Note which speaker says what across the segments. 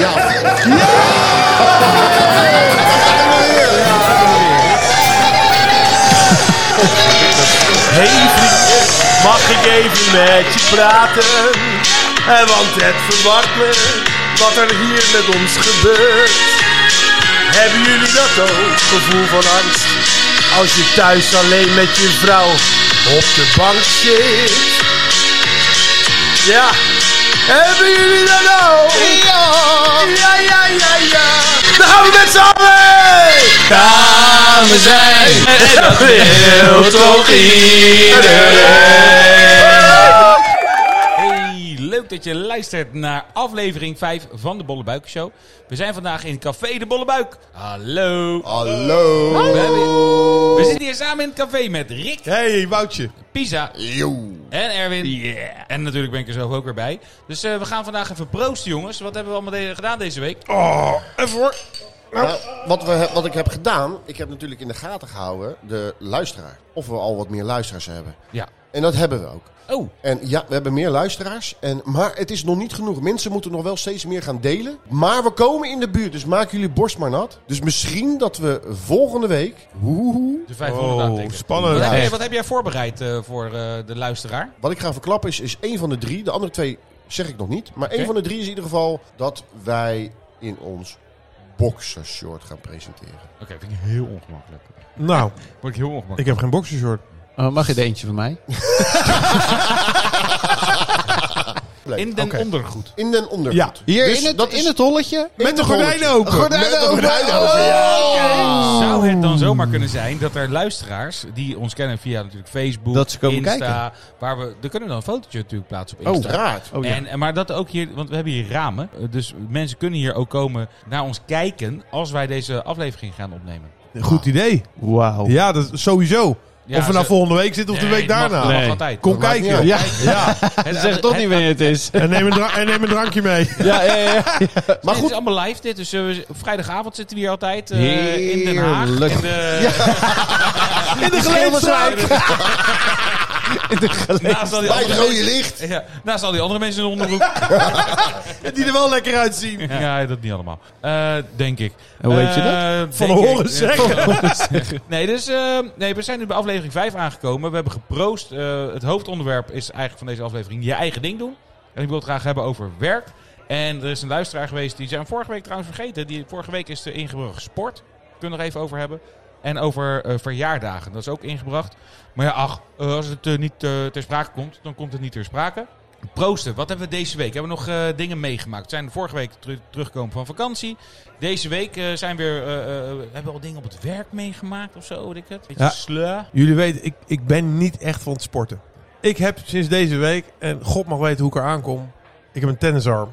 Speaker 1: Ja.
Speaker 2: Hey vriend, mag ik even met je praten? Eh, Want het verwart me wat er hier met ons gebeurt. Hebben jullie dat ook, gevoel van angst? Als je thuis alleen met je vrouw op de bank zit. Ja, hebben jullie dat ook? Ja, ja, ja, ja. ja. Dan gaan we met z'n allen!
Speaker 3: Samen zijn. En dat wil toch
Speaker 2: iedereen.
Speaker 3: Hey, leuk dat je luistert naar aflevering 5 van de Bolle Buik Show. We zijn vandaag in Café de Bolle Buik. Hallo.
Speaker 1: Hallo.
Speaker 3: We, hebben- we zitten hier samen in het café met Rick,
Speaker 2: Hey, Woutje.
Speaker 3: Pisa
Speaker 1: Yo.
Speaker 3: en Erwin. En natuurlijk ben ik er zelf ook weer bij. Dus eh, we gaan vandaag even proosten, jongens. Wat hebben we allemaal de- gedaan deze week?
Speaker 2: Oh, even hoor.
Speaker 1: Nou, wat, we, wat ik heb gedaan, ik heb natuurlijk in de gaten gehouden de luisteraar. Of we al wat meer luisteraars hebben.
Speaker 3: Ja.
Speaker 1: En dat hebben we ook.
Speaker 3: Oh,
Speaker 1: En ja, we hebben meer luisteraars. En, maar het is nog niet genoeg. Mensen moeten nog wel steeds meer gaan delen. Maar we komen in de buurt, dus maak jullie borst maar nat. Dus misschien dat we volgende week... Hoehoe,
Speaker 3: de 500 aantikken.
Speaker 2: spannend.
Speaker 3: Wat, heb jij,
Speaker 1: echt.
Speaker 3: wat heb jij voorbereid eh, voor eh, de luisteraar?
Speaker 1: Wat ik ga verklappen is, is één van de drie. De andere twee zeg ik nog niet. Maar
Speaker 3: Oké.
Speaker 1: één van de drie is in ieder geval dat wij in ons boxershort gaan presenteren.
Speaker 3: Oké, vind ik heel ongemakkelijk.
Speaker 4: Nou,
Speaker 3: Word ik heel ongemakkelijk.
Speaker 4: ik heb geen boxershort.
Speaker 5: Oh, mag je er eentje van mij?
Speaker 3: In den ondergoed.
Speaker 1: In den ondergoed.
Speaker 4: Ja.
Speaker 5: Hier
Speaker 1: Dus
Speaker 5: in, het,
Speaker 1: dat is-
Speaker 5: in het holletje?
Speaker 4: Met de gordijnen
Speaker 1: bolletje.
Speaker 4: open.
Speaker 1: Gordijnen
Speaker 4: Met de
Speaker 1: open.
Speaker 4: gordijnen
Speaker 1: Oh,
Speaker 5: Oh.
Speaker 3: Zou het dan zomaar kunnen zijn dat er luisteraars die ons kennen via natuurlijk Facebook,
Speaker 5: Dat ze komen
Speaker 3: Insta,
Speaker 5: kijken.
Speaker 3: waar we, daar kunnen we dan een fotootje natuurlijk plaatsen op Insta.
Speaker 1: Uiteraard.
Speaker 5: Oh, ja.
Speaker 3: en, en- maar dat ook hier, want we hebben hier ramen, eh, dus mensen kunnen hier ook komen naar ons kijken als wij deze aflevering gaan opnemen.
Speaker 4: Goed idee.
Speaker 5: Wauw.
Speaker 4: Ja, dat is sowieso.
Speaker 3: Ja,
Speaker 4: of we
Speaker 3: ze-
Speaker 4: nou volgende week zitten of de
Speaker 3: Nee,
Speaker 4: week
Speaker 3: het mag-
Speaker 4: daarna.
Speaker 3: het mag
Speaker 5: Nee.
Speaker 3: altijd.
Speaker 4: Kom
Speaker 1: maakt niet
Speaker 4: kijken.
Speaker 1: uit.
Speaker 4: Ja.
Speaker 5: Ja,
Speaker 3: Het-
Speaker 5: zeg
Speaker 3: het-
Speaker 5: toch niet wanneer het is.
Speaker 4: En, neem een dra- en neem een drankje mee.
Speaker 5: Ja, ja, ja.
Speaker 1: Maar
Speaker 3: dit
Speaker 1: goed,
Speaker 3: is allemaal live dit, dus eh, we- vrijdagavond zitten we hier altijd eh, in Den Haag.
Speaker 5: Heerlijk.
Speaker 3: In de,
Speaker 4: In de geleedstraat.
Speaker 3: naast, al die
Speaker 1: bij het
Speaker 3: andere
Speaker 1: rode
Speaker 3: mensen,
Speaker 1: licht.
Speaker 3: ja, naast al die andere mensen in de onderbroek.
Speaker 4: Die er wel lekker uitzien.
Speaker 3: Ja, ja, dat niet allemaal. Eh, denk ik.
Speaker 5: En hoe heet je dat?
Speaker 3: Eh,
Speaker 4: Van
Speaker 3: denk
Speaker 4: horen
Speaker 3: ik.
Speaker 4: zeggen.
Speaker 3: Nee, dus, eh, nee, we zijn nu bij aflevering 5 aangekomen. We hebben geproost. Eh, het hoofdonderwerp is eigenlijk van deze aflevering je eigen ding doen. En ik wil het graag hebben over werk. En er is een luisteraar geweest, die zijn vorige week trouwens vergeten. Die, vorige week is er ingebracht sport. Kunnen we nog even over hebben. En over eh, verjaardagen, dat is ook ingebracht. Maar ja, ach, eh, als het eh, niet eh, ter sprake komt, dan komt het niet ter sprake. Proosten, wat hebben we deze week? Hebben we nog eh, dingen meegemaakt? We zijn vorige week teru- teruggekomen van vakantie. Deze week eh, zijn we weer, eh, eh, hebben we al dingen op het werk meegemaakt of zo, weet ik het? Beetje
Speaker 4: Ja.
Speaker 3: sleur.
Speaker 4: Jullie weten, ik, ik ben niet echt van het sporten. Ik heb sinds deze week, en god mag weten hoe ik er aankom, ik heb een tennisarm.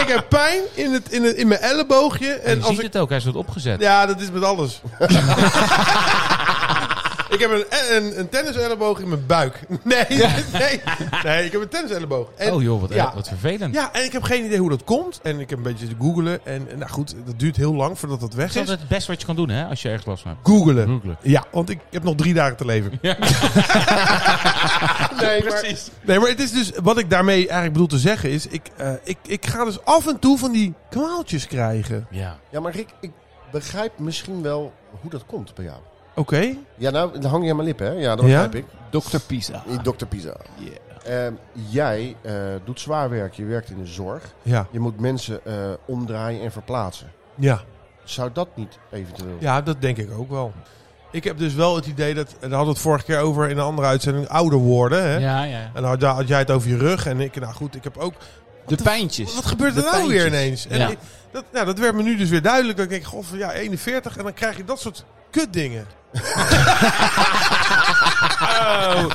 Speaker 4: ik heb pijn in, het, in, het, in mijn elleboogje.
Speaker 3: En
Speaker 4: En
Speaker 3: je
Speaker 4: als
Speaker 3: ziet
Speaker 4: ik,
Speaker 3: het ook, hij is wat opgezet.
Speaker 4: ja, dat is met alles. ik heb een, een, een tenniselleboog in mijn buik. Nee, nee, nee, ik heb een tenniselleboog. En,
Speaker 3: oh joh, wat,
Speaker 4: ja.
Speaker 3: wat vervelend.
Speaker 4: Ja, en ik heb geen idee hoe dat komt. En ik heb een beetje te googelen. En, en nou goed, dat duurt heel lang voordat dat weg
Speaker 3: Dat is
Speaker 4: is.
Speaker 3: altijd het beste wat je kan doen, hè, als je ergens last van hebt.
Speaker 4: Googelen.
Speaker 3: Googelen.
Speaker 4: Ja, want ik heb nog drie dagen te leven.
Speaker 3: Ja.
Speaker 4: nee, maar, nee, maar het is dus wat ik daarmee eigenlijk bedoel te zeggen is, ik, eh, ik, ik ga dus af en toe van die kwaaltjes krijgen.
Speaker 3: Ja.
Speaker 1: Ja, maar Rick, ik begrijp misschien wel hoe dat komt bij jou.
Speaker 4: Oké.
Speaker 1: Ja, nou, dan hang je aan mijn lippen, hè? Ja, dat
Speaker 4: Ja?
Speaker 1: begrijp ik.
Speaker 5: Dr. Pisa.
Speaker 1: Eh, Dr. Pisa. Ehm, jij eh, doet zwaar werk. Je werkt in de zorg.
Speaker 4: Ja.
Speaker 1: Je moet mensen eh, omdraaien en verplaatsen.
Speaker 4: Ja.
Speaker 1: Zou dat niet eventueel...
Speaker 4: Ja, dat denk ik ook wel. Ik heb dus wel het idee dat, daar hadden we het vorige keer over in een andere uitzending, ouder worden. Hè?
Speaker 3: Ja, ja.
Speaker 4: En had, had jij het over je rug en ik, nou goed, ik heb ook
Speaker 5: De pijntjes.
Speaker 4: Wat gebeurt
Speaker 5: De
Speaker 4: er nou weer
Speaker 5: pijntjes.
Speaker 4: ineens? En
Speaker 5: Ja.
Speaker 4: ik- dat, nou, dat werd me nu dus weer duidelijk. Dat ik denk, goh, ja, 41 en dan krijg je dat soort kutdingen.
Speaker 3: Ah.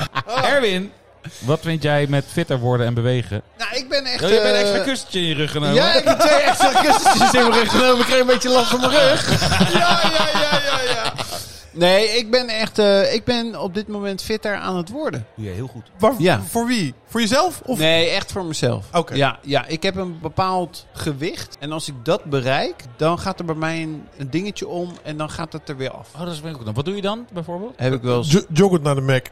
Speaker 3: Erwin, wat vind jij met fitter worden en bewegen?
Speaker 5: Nou, ik ben echt...
Speaker 3: Oh, je bent
Speaker 5: eh,
Speaker 3: extra kussentje in je rug genomen.
Speaker 5: Ja, ik heb twee extra kussentjes in mijn rug genomen. Ik kreeg een beetje last van mijn rug.
Speaker 4: Ja, ja, ja, ja, ja.
Speaker 5: Nee, ik ben echt... eh, ik ben op dit moment fitter aan het worden.
Speaker 3: Doe je heel goed.
Speaker 4: Maar
Speaker 5: Ja.
Speaker 4: voor wie? Voor jezelf? Of?
Speaker 5: Nee, echt voor mezelf.
Speaker 4: Oké.
Speaker 5: Ja, ja, ik heb een bepaald gewicht. En als ik dat bereik, dan gaat er bij mij een, een dingetje om. En dan gaat het er weer af.
Speaker 3: Oh, dat is wel goed. Dan Wat doe je dan, bijvoorbeeld?
Speaker 5: Heb ik wel eens...
Speaker 4: Jo- joggend naar de Mac.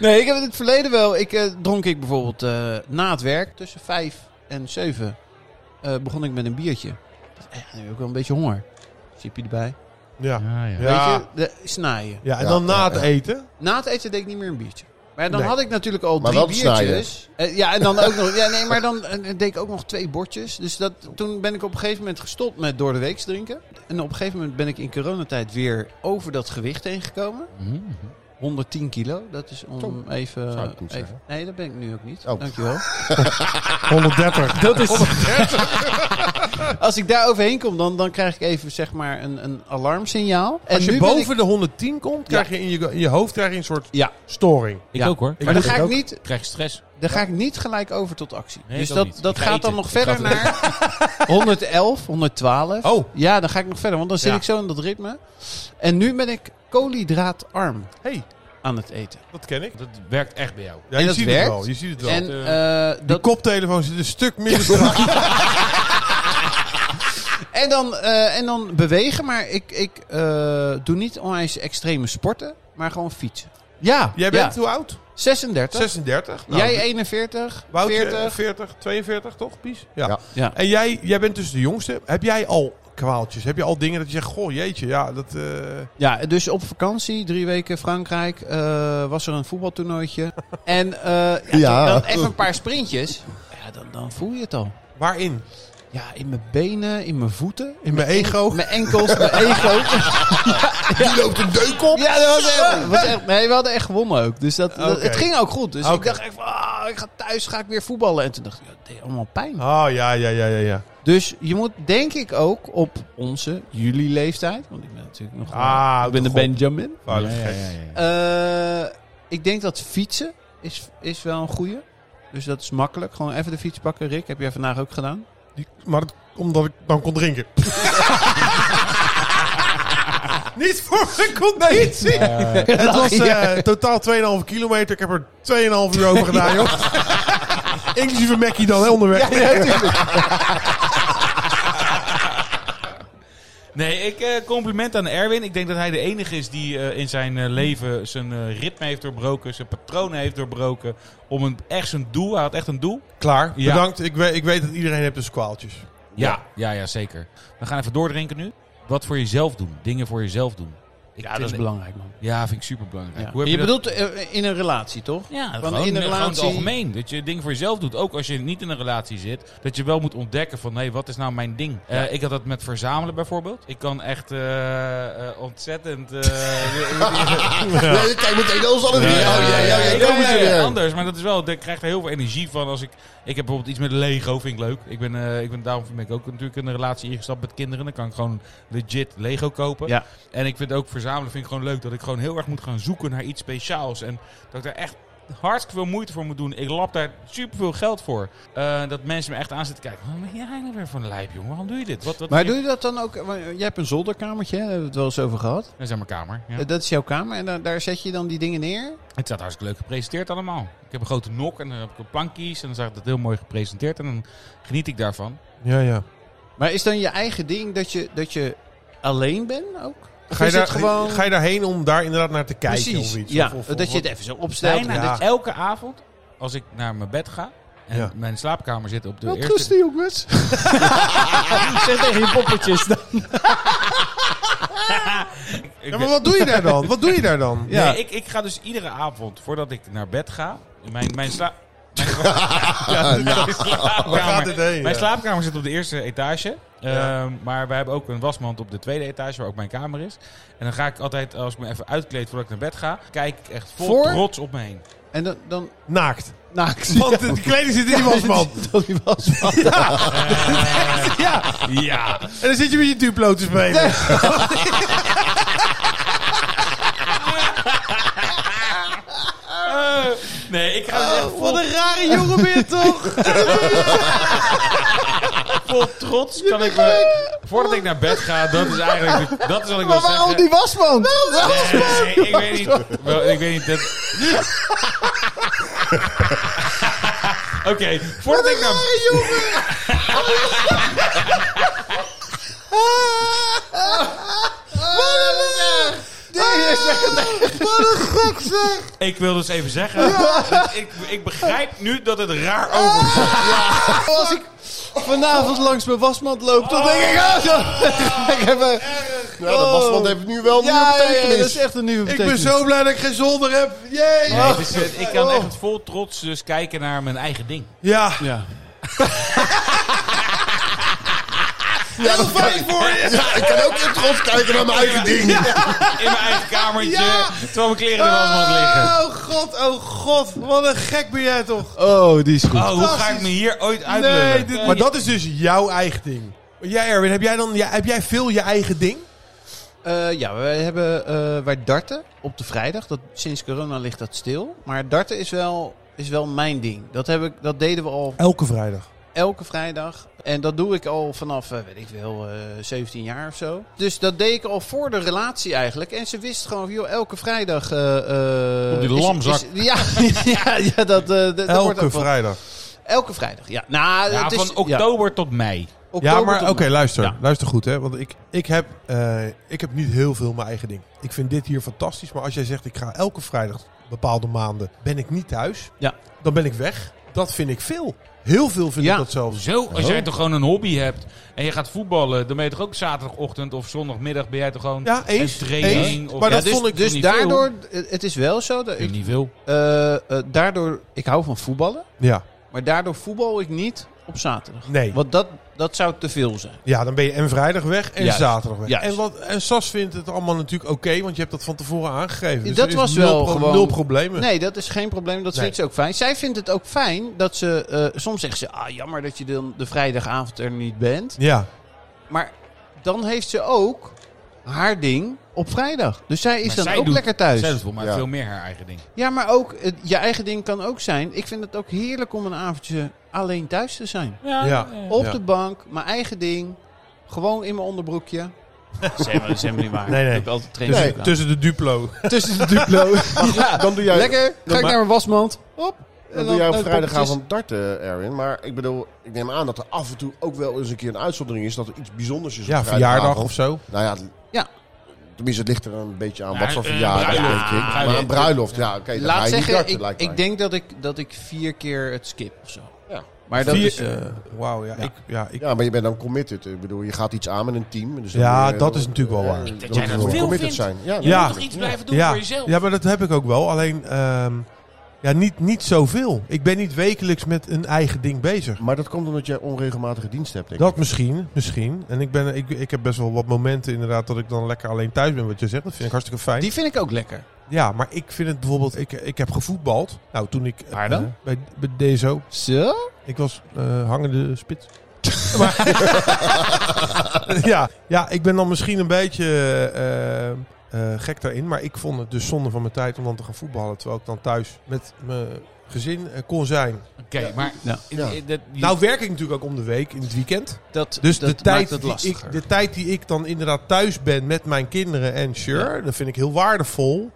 Speaker 5: Nee, ik heb het in het verleden wel. Ik eh, dronk ik bijvoorbeeld eh, na het werk tussen vijf en zeven eh, begon ik met een biertje. Dat is echt, nu heb ik wel een beetje honger. Chipje erbij.
Speaker 4: Ja.
Speaker 3: Ah, Ja, ja.
Speaker 4: Ja.
Speaker 5: Weet je, de, snijden.
Speaker 4: Ja, en
Speaker 1: Ja,
Speaker 4: dan na
Speaker 1: ja,
Speaker 4: het
Speaker 1: ja.
Speaker 4: eten.
Speaker 5: Na het eten deed ik niet meer een biertje. Maar ja, dan
Speaker 4: Nee.
Speaker 5: had ik natuurlijk al
Speaker 1: Maar
Speaker 5: drie
Speaker 1: wel te snijden.
Speaker 5: biertjes. Eh, ja, en dan ook nog. Ja, nee, maar dan eh, deed ik ook nog twee bordjes. Dus dat, toen ben ik op een gegeven moment gestopt met door de week drinken. En op een gegeven moment ben ik in coronatijd weer over dat gewicht heen gekomen.
Speaker 3: Mm.
Speaker 5: 110 kilo. Dat is om even.
Speaker 1: zou ik niet
Speaker 5: even-
Speaker 1: zeggen.
Speaker 5: nee, dat ben ik nu ook niet.
Speaker 1: Oh.
Speaker 5: Dankjewel.
Speaker 4: 130.
Speaker 3: Ah,
Speaker 5: Dat is. Als ik daar overheen kom, dan, dan krijg ik even zeg maar een, een alarmsignaal. En
Speaker 4: Als je
Speaker 5: nu ben ik-
Speaker 4: boven de 110 komt, krijg je in je, in je hoofd krijg je een soort
Speaker 5: Ja.
Speaker 4: storing.
Speaker 3: Ik
Speaker 5: Ja.
Speaker 3: ook hoor.
Speaker 5: Maar
Speaker 4: doe
Speaker 5: dan
Speaker 4: dat
Speaker 5: ga ik
Speaker 4: ook.
Speaker 5: niet
Speaker 3: krijg stress.
Speaker 5: Daar ga ik niet gelijk over tot actie.
Speaker 3: Nee,
Speaker 5: dus
Speaker 3: ik ook
Speaker 5: dat,
Speaker 3: niet.
Speaker 5: dat
Speaker 3: Ik ga
Speaker 5: gaat dan
Speaker 3: eten.
Speaker 5: nog
Speaker 3: Ik
Speaker 5: verder
Speaker 3: ga
Speaker 5: naar 111, 112.
Speaker 4: Oh.
Speaker 5: Ja, dan ga ik nog verder, want dan zit
Speaker 4: Ja.
Speaker 5: ik zo in dat ritme. En nu ben ik koolhydraatarm
Speaker 4: hey,
Speaker 5: aan het eten.
Speaker 4: dat ken ik.
Speaker 3: Dat werkt echt bij jou.
Speaker 4: Ja,
Speaker 5: En
Speaker 4: je,
Speaker 5: dat
Speaker 4: ziet
Speaker 5: werkt.
Speaker 4: Het wel, je ziet het wel.
Speaker 5: en
Speaker 4: De
Speaker 5: eh, dat,
Speaker 4: koptelefoon zit een stuk minder strak.
Speaker 5: en, dan, eh, en dan bewegen, maar ik, ik eh, doe niet onwijs extreme sporten, maar gewoon fietsen. Ja,
Speaker 4: Jij
Speaker 5: ja.
Speaker 4: bent hoe oud? Nou,
Speaker 5: 36.
Speaker 4: 36.
Speaker 5: Jij 41,
Speaker 4: Wout, 40.
Speaker 5: 40.
Speaker 4: 40, 42 toch, Pies? Ja.
Speaker 1: Ja.
Speaker 5: Ja.
Speaker 4: En jij, jij bent dus de jongste. Heb jij al kwaaltjes? Heb je al dingen dat je zegt, goh, jeetje, ja, dat... eh,
Speaker 5: Ja, dus op vakantie, drie weken Frankrijk, eh, was er een voetbaltoernooitje. en eh, ja,
Speaker 1: Ja.
Speaker 5: toen dan even een paar sprintjes. Ja, dan, dan voel je het al.
Speaker 4: waarin?
Speaker 5: Ja, in mijn benen, in mijn voeten.
Speaker 4: In mijn ego?
Speaker 5: Mijn enkels, mijn ego.
Speaker 1: Die loopt een deuk op.
Speaker 5: Ja, dat was echt, was echt- nee, we hadden echt gewonnen ook. Dus dat, dat-
Speaker 4: Oké.
Speaker 5: het ging ook goed. Dus ik
Speaker 4: Oké.
Speaker 5: dacht echt van, ah, ik ga thuis ga ik weer voetballen. En toen dacht ik, ja, het deed allemaal pijn.
Speaker 4: Oh, ja, ja, ja, ja, ja.
Speaker 5: Dus je moet denk ik ook op onze, jullie leeftijd. Want ik ben natuurlijk nog
Speaker 4: Ah,
Speaker 5: ik ben de
Speaker 4: God.
Speaker 5: Benjamin.
Speaker 4: Oh, dat is
Speaker 3: ja,
Speaker 4: gek.
Speaker 3: ja, ja.
Speaker 5: Eh, ik denk dat fietsen is, is wel een goeie. Dus dat is makkelijk. Gewoon even de fiets pakken. Rick, heb jij vandaag ook gedaan?
Speaker 4: Die- maar dat- omdat ik dan kon drinken. Niet voor mijn conditie. Het was eh, totaal 2,5 kilometer. Ik heb er 2,5 uur over gedaan, joh.
Speaker 5: eh,
Speaker 4: Inclusief Mackie dan hè, onderweg.
Speaker 3: Nee, ik eh, compliment aan Erwin. Ik denk dat hij de enige is die eh, in zijn eh, leven zijn eh, ritme heeft doorbroken, zijn patronen heeft doorbroken. Om een, echt zijn doel. Hij had echt een doel.
Speaker 4: Klaar,
Speaker 3: Ja.
Speaker 4: bedankt. Ik, weet, ik weet dat iedereen heeft dus kwaaltjes.
Speaker 3: Ja, ja, ja, zeker. We gaan even doordrinken nu. Wat voor jezelf doen. Dingen voor jezelf doen. Ik vind-
Speaker 5: belangrijk, man.
Speaker 3: Ja, vind ik super belangrijk.
Speaker 5: Je, bedoelt eh, in een relatie, toch?
Speaker 3: Ja,
Speaker 5: Want
Speaker 3: gewoon,
Speaker 5: in een
Speaker 3: eh, gewoon in het
Speaker 5: relatie-
Speaker 3: algemeen. Dat je dingen voor jezelf doet. Ook als je niet in een relatie zit. Dat je wel moet ontdekken van, hé, wat is nou mijn ding? Eh, ik had dat met verzamelen bijvoorbeeld. Ik kan echt eh, eh, ontzettend... eh,
Speaker 1: Nee, kijk meteen als alle drie. Oh ja, ja, ja, ja, komen ze
Speaker 3: ja, ja,
Speaker 1: weer.
Speaker 3: anders. Maar dat is wel, ik krijg er heel veel energie van als ik. Ik heb bijvoorbeeld iets met Lego, vind ik leuk. Ik ben, eh, ik ben daarom ben ik ook natuurlijk in een relatie ingestapt met kinderen. Dan kan ik gewoon legit Lego kopen.
Speaker 5: Ja.
Speaker 3: En ik vind ook verzamelen vind ik gewoon leuk. Dat ik gewoon heel erg moet gaan zoeken naar iets speciaals. En dat ik daar echt hartstikke veel moeite voor moet doen. Ik lap daar super veel geld voor. Eh, dat mensen me echt aan zitten kijken. Wat ben jij eigenlijk weer voor een lijp, jongen? Waarom doe je dit? Wat, wat
Speaker 5: Maar doe je dat dan ook... want eh, Jij hebt een zolderkamertje, hè? daar hebben we het wel eens over gehad.
Speaker 3: Dat is aan mijn kamer. Ja.
Speaker 5: Eh, Dat is jouw kamer en da- daar zet je dan die dingen neer.
Speaker 3: Het staat hartstikke leuk gepresenteerd allemaal. Ik heb een grote nok en dan heb ik een plankkies en dan zag ik dat heel mooi gepresenteerd en dan geniet ik daarvan.
Speaker 4: Ja, ja.
Speaker 5: Maar is dan je eigen ding dat je, dat je alleen bent ook? Of
Speaker 4: Ga je,
Speaker 5: is
Speaker 4: daar,
Speaker 5: het gewoon...
Speaker 4: ga je daarheen om daar inderdaad naar te kijken
Speaker 5: Precies,
Speaker 4: of iets?
Speaker 5: ja.
Speaker 4: Of- of-
Speaker 5: dat
Speaker 4: of-
Speaker 5: je het even zo opstelt.
Speaker 3: Bijna
Speaker 4: ja.
Speaker 3: dat elke avond, als ik naar mijn bed ga en
Speaker 4: Ja.
Speaker 3: mijn slaapkamer zit op de
Speaker 5: Wat
Speaker 3: eerste...
Speaker 5: rusten, jongens. zeg tegen je poppetjes dan.
Speaker 3: Ik
Speaker 4: Ja,
Speaker 3: ben-
Speaker 4: maar wat doe je daar dan? Wat doe je daar dan?
Speaker 5: Ja.
Speaker 3: Nee, ik, ik ga dus iedere avond, voordat ik naar bed ga, mijn, mijn slaap... Mijn, mijn
Speaker 4: nou, Waar gaat dit
Speaker 3: slaapkamer,
Speaker 4: heen?
Speaker 3: mijn
Speaker 4: Ja.
Speaker 3: slaapkamer zit op de eerste etage.
Speaker 4: Ja.
Speaker 3: Ehm, maar wij hebben ook een wasmand op de tweede etage, waar ook mijn kamer is. En dan ga ik altijd, als ik me even uitkleed voordat ik naar bed ga, kijk ik echt vol
Speaker 5: Voor?
Speaker 3: trots op me heen.
Speaker 5: En dan... dan
Speaker 4: Naakt.
Speaker 5: nou, ik zie-
Speaker 4: Want de kleding zit in die wasmand.
Speaker 5: Dat die wasmand.
Speaker 4: Ja.
Speaker 3: Ja,
Speaker 4: En dan zit je met je Duplo te spelen.
Speaker 3: Eh, nee, ik ga dus echt vol,
Speaker 5: een rare jongen ben je toch?
Speaker 3: vol trots. Kan ik me, voordat ik naar bed ga, dat is eigenlijk. de- Dat is wat ik wil
Speaker 5: Maar waarom
Speaker 3: zeggen. Eh,
Speaker 5: die wasman?
Speaker 3: Nee, ik weet niet. Wel, ik weet niet. Dat... Oké, voordat ik
Speaker 5: nou-
Speaker 3: naar.
Speaker 5: eh? Wat een gok
Speaker 3: Ik wil dus even zeggen, dat ik, ik begrijp nu dat het raar overkomt.
Speaker 5: Oh, Als ik vanavond langs mijn wasmand loop, dan denk ik... Oh, zo. ik heb, eh, Oh.
Speaker 1: Nou, de wasmand heeft nu wel een
Speaker 5: ja,
Speaker 1: nieuwe
Speaker 5: ja, ja, dat
Speaker 1: betekenis.
Speaker 5: is echt een nieuwe
Speaker 4: Ik ben
Speaker 5: betekenis.
Speaker 4: zo blij dat ik geen zolder heb. Jee.
Speaker 3: Nee, het is, het- ik kan echt vol trots dus kijken naar mijn eigen ding.
Speaker 4: Ja,
Speaker 5: Ja.
Speaker 4: heel fijn voor je.
Speaker 1: Ja, ik kan ook weer trots kijken naar mijn eigen ding.
Speaker 3: In mijn eigen kamertje,
Speaker 4: Ja.
Speaker 3: terwijl mijn kleren in de wasmand liggen.
Speaker 4: Oh god, oh god. Wat een gek ben jij toch.
Speaker 5: Oh, die is goed.
Speaker 3: Oh, hoe ga ik me hier ooit uitlullen?
Speaker 4: Nee, dit- maar dat is dus jouw eigen ding. Jij Erwin, heb jij, dan, ja, heb jij veel je eigen ding?
Speaker 5: Eh, ja, wij, hebben, eh, wij darten op de vrijdag. Dat, sinds corona ligt dat stil. Maar darten is wel, is wel mijn ding. Dat, heb ik, dat deden we al
Speaker 4: Elke vrijdag.
Speaker 5: elke vrijdag. En dat doe ik al vanaf, eh, weet ik veel, eh, 17 jaar of zo. Dus dat deed ik al voor de relatie eigenlijk. En ze wist gewoon, joh, elke vrijdag... eh, eh,
Speaker 3: Op die
Speaker 5: is-
Speaker 3: lamzak.
Speaker 5: is- ja, ja, ja, dat, eh, dat- dat wordt
Speaker 4: Elke
Speaker 5: ook wel-
Speaker 4: vrijdag.
Speaker 5: Elke vrijdag, ja. Nou,
Speaker 3: Ja,
Speaker 5: het is,
Speaker 3: van oktober tot mei.
Speaker 5: oktober
Speaker 4: Ja, maar
Speaker 5: tot
Speaker 4: oké,
Speaker 5: maart.
Speaker 4: luister.
Speaker 5: Ja.
Speaker 4: Luister goed, hè. Want ik, ik, heb, eh, ik heb niet heel veel mijn eigen ding. Ik vind dit hier fantastisch. Maar als jij zegt, ik ga elke vrijdag bepaalde maanden, ben ik niet thuis.
Speaker 5: Ja.
Speaker 4: Dan ben ik weg. Dat vind ik veel. Heel veel vind
Speaker 5: Ja.
Speaker 4: ik dat zelfs.
Speaker 3: Zo, als jij toch gewoon een hobby hebt en je gaat voetballen, dan ben je toch ook zaterdagochtend of zondagmiddag ben jij toch gewoon
Speaker 4: Ja, eens,
Speaker 3: een training?
Speaker 4: eens.
Speaker 3: of,
Speaker 4: Maar
Speaker 5: Ja,
Speaker 4: dat
Speaker 5: dus
Speaker 4: vond ik
Speaker 5: dus
Speaker 3: niet
Speaker 5: daardoor, eh, het is wel zo. Dat
Speaker 3: Ik
Speaker 5: ik,
Speaker 3: niet veel.
Speaker 5: eh, eh, daardoor, ik hou van voetballen.
Speaker 4: Ja.
Speaker 5: Maar daardoor voetbal ik niet op zaterdag.
Speaker 4: Nee.
Speaker 5: Want dat, dat zou te veel zijn.
Speaker 4: Ja, dan ben je en vrijdag weg en
Speaker 5: Juist,
Speaker 4: zaterdag weg.
Speaker 5: juist.
Speaker 4: En, wat, en Sas vindt het allemaal natuurlijk oké, want je hebt dat van tevoren aangegeven. Dus
Speaker 5: Dat
Speaker 4: er is
Speaker 5: was
Speaker 4: nul
Speaker 5: wel
Speaker 4: pro-
Speaker 5: gewoon-
Speaker 4: Nul problemen.
Speaker 5: Nee, dat is geen probleem. Dat
Speaker 4: Nee.
Speaker 5: vindt ze ook fijn. Zij vindt het ook fijn dat ze... eh, soms zegt ze, ah jammer dat je dan de vrijdagavond er niet bent.
Speaker 4: Ja.
Speaker 5: Maar dan heeft ze ook haar ding op vrijdag. Dus zij is
Speaker 3: Maar
Speaker 5: dan
Speaker 3: zij
Speaker 5: ook
Speaker 3: doet
Speaker 5: lekker thuis.
Speaker 3: Zij doet volgens mij
Speaker 1: Ja.
Speaker 3: veel meer haar eigen ding.
Speaker 5: Ja, maar ook eh, je eigen ding kan ook zijn. Ik vind het ook heerlijk om een avondje alleen thuis te zijn.
Speaker 4: Ja.
Speaker 5: Op
Speaker 4: Ja.
Speaker 5: de bank, mijn eigen ding. Gewoon in mijn onderbroekje. Dat is helemaal, niet waar.
Speaker 4: Nee, Dus- nee.
Speaker 5: Ik heb altijd
Speaker 4: Tussen,
Speaker 5: training
Speaker 4: tussen de Duplo.
Speaker 5: tussen de duplo. ja.
Speaker 1: Dan doe jij,
Speaker 5: Lekker, ga ik naar mijn wasmand. Hop.
Speaker 1: dan doe jij op vrijdagavond darten, eh, Erwin. Maar ik bedoel, ik neem aan dat er af en toe ook wel eens een keer een uitzondering is dat er iets bijzonders is. op
Speaker 4: Ja,
Speaker 1: vrijdagavond.
Speaker 4: verjaardag of zo.
Speaker 1: Nou ja,
Speaker 5: Ja.
Speaker 1: tenminste, het ligt er een beetje aan
Speaker 3: Ja,
Speaker 1: wat voor
Speaker 3: eh,
Speaker 1: verjaardag,
Speaker 3: bruiloft.
Speaker 1: denk ik.
Speaker 3: Ja,
Speaker 1: Maar
Speaker 3: ja.
Speaker 1: een bruiloft, ja, oké, dan ga
Speaker 5: Laat
Speaker 1: je niet
Speaker 5: zeggen,
Speaker 1: darten,
Speaker 5: ik,
Speaker 1: lijkt mij.
Speaker 5: ik denk dat ik, dat ik vier keer het skip of zo.
Speaker 1: Ja.
Speaker 5: Maar dat
Speaker 4: Vier-
Speaker 5: is... eh,
Speaker 4: eh, Wauw, ja. Ik, ja, ik,
Speaker 1: Ja, maar je bent dan committed. Ik bedoel, je gaat iets aan met een team. Dus dan
Speaker 4: Ja,
Speaker 1: moet je-
Speaker 4: dat is natuurlijk wel
Speaker 1: eh,
Speaker 4: waar.
Speaker 1: dan
Speaker 4: Ik
Speaker 3: dat
Speaker 1: moet
Speaker 3: jij
Speaker 1: je
Speaker 3: dat
Speaker 1: wel
Speaker 3: veel
Speaker 1: committed
Speaker 3: vindt.
Speaker 1: zijn. Ja,
Speaker 4: Ja.
Speaker 1: natuurlijk.
Speaker 3: toch iets blijven doen
Speaker 4: ja.
Speaker 3: voor jezelf?
Speaker 4: ja, maar dat heb ik ook wel. Alleen, ehm, ja, niet, niet zoveel. Ik ben niet wekelijks met een eigen ding bezig.
Speaker 1: Maar dat komt omdat jij onregelmatige dienst hebt, denk ik.
Speaker 4: Dat misschien, misschien. En ik, ben, ik, ik heb best wel wat momenten inderdaad dat ik dan lekker alleen thuis ben, wat je zegt. Dat vind ik hartstikke fijn.
Speaker 5: die vind ik ook lekker.
Speaker 4: Ja, maar ik vind het bijvoorbeeld... Ik, ik heb gevoetbald. Nou, toen ik...
Speaker 5: Waar dan?
Speaker 4: eh, bij, bij DSO.
Speaker 5: Zo?
Speaker 4: Ik was eh, hangende spits. Maar- ja, ja, ik ben dan misschien een beetje eh, eh, gek daarin. Maar ik vond het dus zonde van mijn tijd om dan te gaan voetballen. Terwijl ik dan thuis met mijn gezin eh, kon zijn.
Speaker 3: Oké, maar...
Speaker 5: Ja.
Speaker 1: Ja.
Speaker 3: eh, dat- je-
Speaker 4: Nou werk ik natuurlijk ook om de week, in het weekend.
Speaker 5: Dat,
Speaker 4: Dus
Speaker 5: dat
Speaker 4: de, tijd
Speaker 5: maakt het
Speaker 4: die ik,
Speaker 5: lastiger.
Speaker 4: de tijd die ik dan inderdaad thuis ben met mijn kinderen en sure, dat vind ik heel waardevol.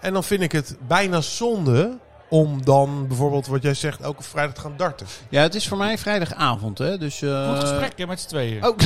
Speaker 4: En dan vind ik het bijna zonde om dan bijvoorbeeld wat jij zegt elke vrijdag te gaan darten.
Speaker 5: Ja, het is voor mij vrijdagavond, hè. Dus, eh,
Speaker 3: Goed gesprek hè, met z'n tweeën.
Speaker 5: Oh,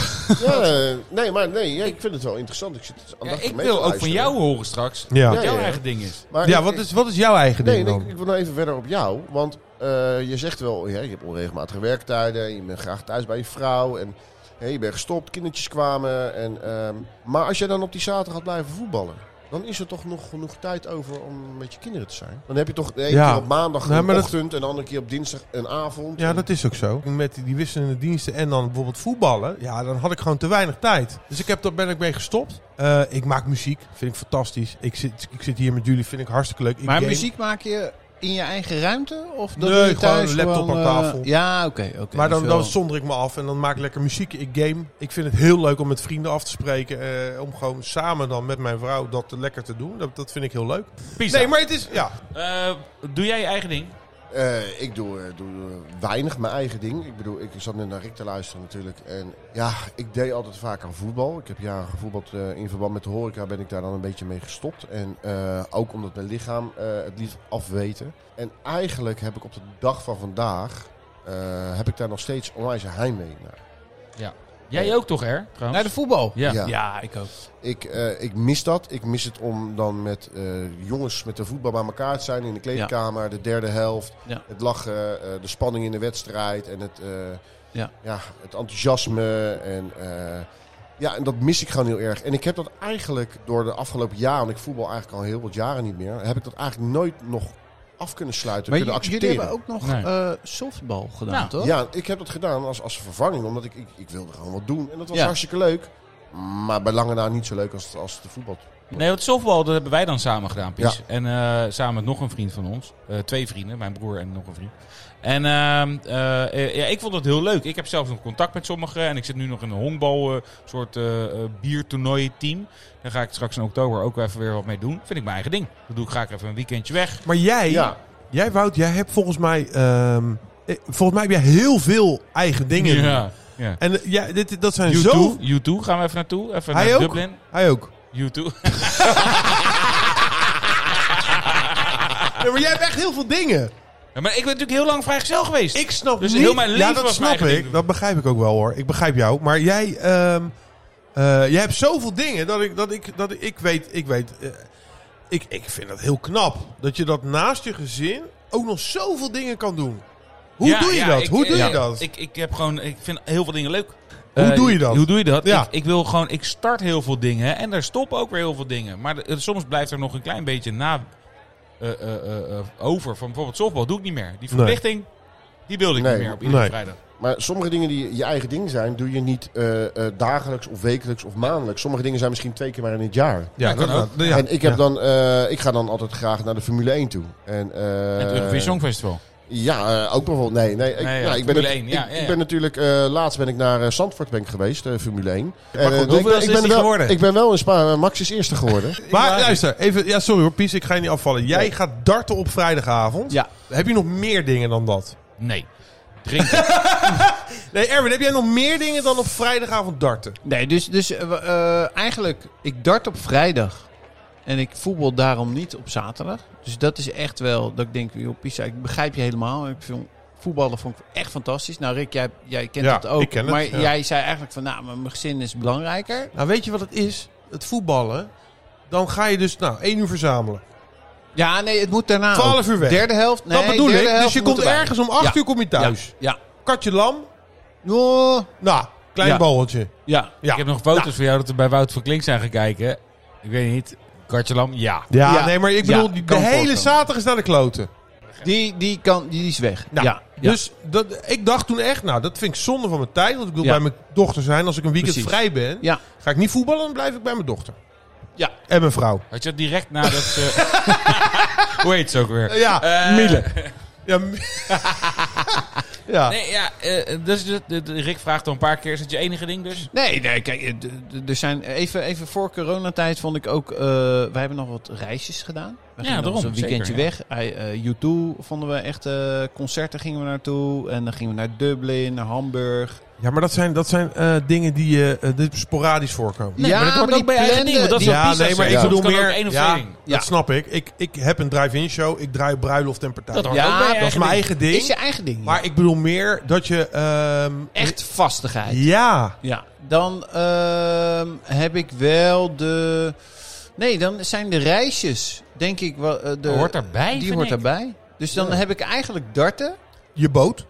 Speaker 1: Ja, eh, nee, maar nee, ja, ik vind het wel interessant. Ik, zit
Speaker 3: Ja,
Speaker 1: aandachtig
Speaker 3: ik
Speaker 1: mee te
Speaker 3: wil ook van
Speaker 1: luisteren.
Speaker 3: jou horen straks.
Speaker 4: Ja.
Speaker 3: Wat
Speaker 1: Ja,
Speaker 3: jouw
Speaker 1: ja, ja.
Speaker 3: eigen ding is.
Speaker 1: Maar
Speaker 4: Ja,
Speaker 1: ik-
Speaker 4: wat is, wat is jouw eigen
Speaker 1: Nee,
Speaker 4: ding
Speaker 1: nee,
Speaker 4: dan?
Speaker 1: ik, ik wil nog even verder op jou. Want eh, je zegt wel, ja, je hebt onregelmatige werktijden. Je bent graag thuis bij je vrouw. En hè, je bent gestopt, kindertjes kwamen. En, ehm, maar als jij dan op die zaterdag gaat blijven voetballen... dan is er toch nog genoeg tijd over om met je kinderen te zijn. Dan heb je toch de ene
Speaker 4: Ja.
Speaker 1: keer op maandag
Speaker 4: Nee,
Speaker 1: een
Speaker 4: maar dat-
Speaker 1: ochtend... en de andere keer op dinsdag een avond.
Speaker 4: Ja,
Speaker 1: En-
Speaker 4: dat is ook zo. Met die wisselende diensten en dan bijvoorbeeld voetballen. Ja, dan had ik gewoon te weinig tijd. Dus ik heb, daar ben ik mee gestopt. Eh, ik maak muziek. Vind ik fantastisch. Ik zit, ik zit hier met jullie. Vind ik hartstikke leuk. Ik
Speaker 5: maar
Speaker 4: game.
Speaker 5: muziek maak je in je eigen ruimte? Of dat
Speaker 4: Nee,
Speaker 5: doe je
Speaker 4: gewoon
Speaker 5: thuis
Speaker 4: een laptop aan
Speaker 5: gewoon, eh,
Speaker 4: tafel.
Speaker 5: ja, oké. oké.
Speaker 4: Maar dan,
Speaker 5: Dus wel-
Speaker 4: dan zonder ik me af en dan maak ik lekker muziek. Ik game. Ik vind het heel leuk om met vrienden af te spreken. eh, om gewoon samen dan met mijn vrouw dat lekker te doen. Dat, dat vind ik heel leuk.
Speaker 3: Pizza.
Speaker 4: Nee, maar het is... Ja.
Speaker 3: Eh, doe jij je eigen ding?
Speaker 1: Eh, ik doe, eh, doe eh, weinig mijn eigen ding. Ik bedoel, ik zat net naar Rick te luisteren natuurlijk. En ja, ik deed altijd vaak aan voetbal. Ik heb jaren gevoetbald eh, in verband met de horeca. Ben ik daar dan een beetje mee gestopt. En eh, ook omdat mijn lichaam eh, het liefst afweten. En eigenlijk heb ik op de dag van vandaag... eh, heb ik daar nog steeds onwijs een heimwee naar.
Speaker 3: Ja. Nou, Jij ook toch, Er?
Speaker 5: Naar de voetbal.
Speaker 3: Ja.
Speaker 1: Ja.
Speaker 4: Ja, ik ook.
Speaker 1: Ik, eh, ik mis dat. Ik mis het om dan met eh, jongens met de voetbal bij elkaar te zijn in de kleedkamer, de derde helft.
Speaker 5: Ja.
Speaker 1: Het lachen, eh, de spanning in de wedstrijd en het, eh,
Speaker 5: Ja.
Speaker 1: Ja, het enthousiasme. En, eh, ja, en dat mis ik gewoon heel erg. En ik heb dat eigenlijk door de afgelopen jaren, want ik voetbal eigenlijk al heel wat jaren niet meer, heb ik dat eigenlijk nooit nog af kunnen sluiten,
Speaker 5: Maar
Speaker 1: kunnen
Speaker 5: j- jullie
Speaker 1: accepteren.
Speaker 5: hebben ook nog
Speaker 3: Nee.
Speaker 5: eh, softbal gedaan,
Speaker 3: Nou,
Speaker 5: toch?
Speaker 1: Ja, ik heb dat gedaan als, als vervanging, omdat ik, ik, ik wilde gewoon wat doen. En dat was
Speaker 5: Ja.
Speaker 1: hartstikke leuk. Maar bij lange na niet zo leuk als, als de voetbal.
Speaker 3: Nee, want softbal dat hebben wij dan samen gedaan, Pies.
Speaker 1: Ja.
Speaker 3: En eh, samen met nog een vriend van ons. Eh, twee vrienden, mijn broer en nog een vriend. En ehm, eh, eh, ja, ik vond het heel leuk. Ik heb zelfs nog contact met sommigen. En ik zit nu nog in een honkbal, eh, soort eh eh, biertoernooi-team. Daar ga ik straks in oktober ook even weer wat mee doen. Vind ik mijn eigen ding. Dan doe ik graag even een weekendje weg.
Speaker 4: Maar jij,
Speaker 1: Ja,
Speaker 4: jij Wout, jij hebt volgens mij... ehm, eh, volgens mij heb jij heel veel eigen dingen.
Speaker 3: Ja. ja.
Speaker 4: En eh, ja, dit, dat zijn
Speaker 3: U2,
Speaker 4: zo...
Speaker 3: U2 gaan we even naartoe. Even
Speaker 4: Hij
Speaker 3: naar
Speaker 4: ook?
Speaker 3: Dublin.
Speaker 4: Hij ook.
Speaker 3: U2.
Speaker 4: Nee, maar jij hebt echt heel veel dingen.
Speaker 3: Ja, maar ik ben natuurlijk heel lang vrijgezel geweest.
Speaker 4: Ik snap
Speaker 3: Dus
Speaker 4: niet.
Speaker 3: heel mijn leven
Speaker 4: ja, dat
Speaker 3: was mijn
Speaker 4: snap
Speaker 3: eigen
Speaker 4: ik.
Speaker 3: ding.
Speaker 4: Dat begrijp ik ook wel hoor. Ik begrijp jou. Maar jij, ehm, eh, jij hebt zoveel dingen dat ik, dat ik, dat ik, ik weet. Ik, weet eh, ik, ik vind dat heel knap. Dat je dat naast je gezin ook nog zoveel dingen kan doen. Hoe
Speaker 3: Ja,
Speaker 4: doe je
Speaker 3: ja,
Speaker 4: dat?
Speaker 3: ik-
Speaker 4: Hoe doe
Speaker 3: ja,
Speaker 4: je dat?
Speaker 3: Ik, ik, heb gewoon, ik vind heel veel dingen leuk.
Speaker 4: Hoe
Speaker 3: Eh,
Speaker 4: doe je dat?
Speaker 3: Hoe doe je dat?
Speaker 4: Ja.
Speaker 3: Ik, ik wil gewoon, ik start heel veel dingen en daar stoppen ook weer heel veel dingen. Maar de- eh, soms blijft er nog een klein beetje na eh, eh, eh, eh, over. Van bijvoorbeeld softbal doe ik niet meer. Die verplichting, die wilde ik
Speaker 1: Nee.
Speaker 3: niet meer op iedere
Speaker 4: Nee.
Speaker 3: vrijdag.
Speaker 1: maar sommige dingen die je eigen ding zijn, doe je niet eh, eh, dagelijks of wekelijks of maandelijks. Sommige dingen zijn misschien twee keer maar in het jaar.
Speaker 3: Ja, kan ook.
Speaker 4: ja.
Speaker 1: en ik, heb
Speaker 4: Ja.
Speaker 1: dan, eh, ik ga dan altijd graag naar de Formule 1 toe. En, eh,
Speaker 3: het Eurovisie Songfestival.
Speaker 1: Ja, eh, ook bijvoorbeeld. Nee, nee. Ik,
Speaker 3: Nee, ja,
Speaker 1: ja, ik ben,
Speaker 3: Formule
Speaker 1: natu-
Speaker 3: 1, ja,
Speaker 1: ik,
Speaker 3: ja, ja.
Speaker 1: ik ben natuurlijk. eh, laatst ben ik naar eh, Zandvoort ben ik geweest, eh, Formule 1. En, eh,
Speaker 4: goed,
Speaker 1: ik-
Speaker 4: hoeveel is
Speaker 1: ik ben
Speaker 4: die
Speaker 1: wel,
Speaker 4: geworden?
Speaker 1: Ik ben wel in Spa. Max is eerste geworden.
Speaker 4: Maar luister, even, ja, sorry hoor, Pies, ik ga je niet afvallen. Jij gaat darten op vrijdagavond.
Speaker 5: Ja.
Speaker 4: Heb je nog meer dingen dan dat?
Speaker 3: Nee. Drinken.
Speaker 4: Nee, Erwin, heb jij nog meer dingen dan op vrijdagavond darten?
Speaker 5: Nee, dus, dus eh, we- eh, eigenlijk, ik dart op vrijdag. En ik voetbal daarom niet op zaterdag. Dus dat is echt wel, dat ik denk, joh, Pisa, ik begrijp je helemaal. Ik vind, voetballen vond ik echt fantastisch. Nou Rick, jij, jij kent
Speaker 4: Ja,
Speaker 5: dat ook.
Speaker 4: ik ken het,
Speaker 5: maar
Speaker 4: ja.
Speaker 5: jij zei eigenlijk van, nou, mijn gezin is belangrijker.
Speaker 4: Nou, weet je wat het is? Het voetballen. Dan ga je dus, nou, één uur verzamelen.
Speaker 5: Ja, nee, het moet daarna
Speaker 4: Twaalf
Speaker 5: ook.
Speaker 4: uur weg.
Speaker 5: Derde helft, nee,
Speaker 4: dat bedoel
Speaker 5: derde
Speaker 4: ik.
Speaker 5: helft
Speaker 4: Dus je
Speaker 5: moet
Speaker 4: komt
Speaker 5: erbij.
Speaker 4: ergens om acht
Speaker 5: Ja.
Speaker 4: uur kom je thuis.
Speaker 5: Ja.
Speaker 4: Katje lam.
Speaker 5: Ja. Oh,
Speaker 4: Nou, klein
Speaker 5: Ja.
Speaker 4: balletje.
Speaker 5: ja.
Speaker 4: Ja. Nou.
Speaker 3: Ik heb nog foto's van jou dat we bij Wout van Klink zijn gaan kijken. Ik weet niet. Kartje Lam, ja.
Speaker 4: Ja,
Speaker 5: Ja.
Speaker 4: nee, maar ik
Speaker 5: Ja,
Speaker 4: bedoel, die- de
Speaker 5: kan
Speaker 4: hele
Speaker 5: voorkomen.
Speaker 4: zaterdag is naar de kloten.
Speaker 5: Die, die, kan, die is weg.
Speaker 4: Nou,
Speaker 5: ja.
Speaker 4: Dus dat, ik dacht toen echt, nou, dat vind ik zonde van mijn tijd. Want ik wil
Speaker 5: Ja.
Speaker 4: bij mijn dochter zijn. Als ik een weekend
Speaker 5: Precies.
Speaker 4: vrij ben,
Speaker 5: Ja.
Speaker 4: ga ik niet voetballen, dan blijf ik bij mijn dochter.
Speaker 5: Ja.
Speaker 4: En mijn vrouw.
Speaker 3: Had je dat direct nadat ze... Hoe heet ze ook weer?
Speaker 4: Ja,
Speaker 3: Eh,
Speaker 4: ja. ja.
Speaker 3: Nee, ja, eh, dus de- de- de- Rick vraagt al een paar keer, is het je enige ding dus?
Speaker 5: Nee, nee, kijk, eh, d- d- er zijn even, even voor coronatijd vond ik ook. eh wij hebben nog wat reisjes gedaan. We
Speaker 3: Ja,
Speaker 5: gingen nog
Speaker 3: daarom,
Speaker 5: eens een weekendje
Speaker 3: zeker,
Speaker 5: weg. Hij, eh, U2 vonden we echt. eh, concerten gingen we naartoe. En dan gingen we naar Dublin, naar Hamburg.
Speaker 4: ja, maar dat zijn, dat zijn eh, dingen die je eh, dit sporadisch voorkomen.
Speaker 3: Nee, maar dat wordt ook bij je eigen ding, want dat is
Speaker 5: die-
Speaker 3: wel pizza
Speaker 1: ik
Speaker 3: zeggen.
Speaker 1: bedoel
Speaker 3: Dat kan ook één of
Speaker 4: ja,
Speaker 3: twee dingen.
Speaker 5: Ja.
Speaker 4: Dat snap ik. ik. Ik heb een drive-in show. Ik draai op bruiloft en partijen.
Speaker 3: Dat hoort
Speaker 5: Ja,
Speaker 3: ook bij je
Speaker 5: dat
Speaker 4: Dat is
Speaker 3: eigen
Speaker 4: mijn
Speaker 3: ding.
Speaker 4: eigen ding.
Speaker 5: Is je eigen ding. ja.
Speaker 4: Maar ik bedoel meer dat je... ehm,
Speaker 5: echt vastigheid.
Speaker 4: Ja.
Speaker 5: Ja, dan ehm, heb ik wel de. Nee, dan zijn de reisjes, denk ik. wel, eh, de,
Speaker 3: Dat hoort erbij,
Speaker 5: Die
Speaker 3: vind
Speaker 5: hoort
Speaker 3: ik.
Speaker 5: erbij. Dus dan heb ik eigenlijk darten.
Speaker 4: Je boot.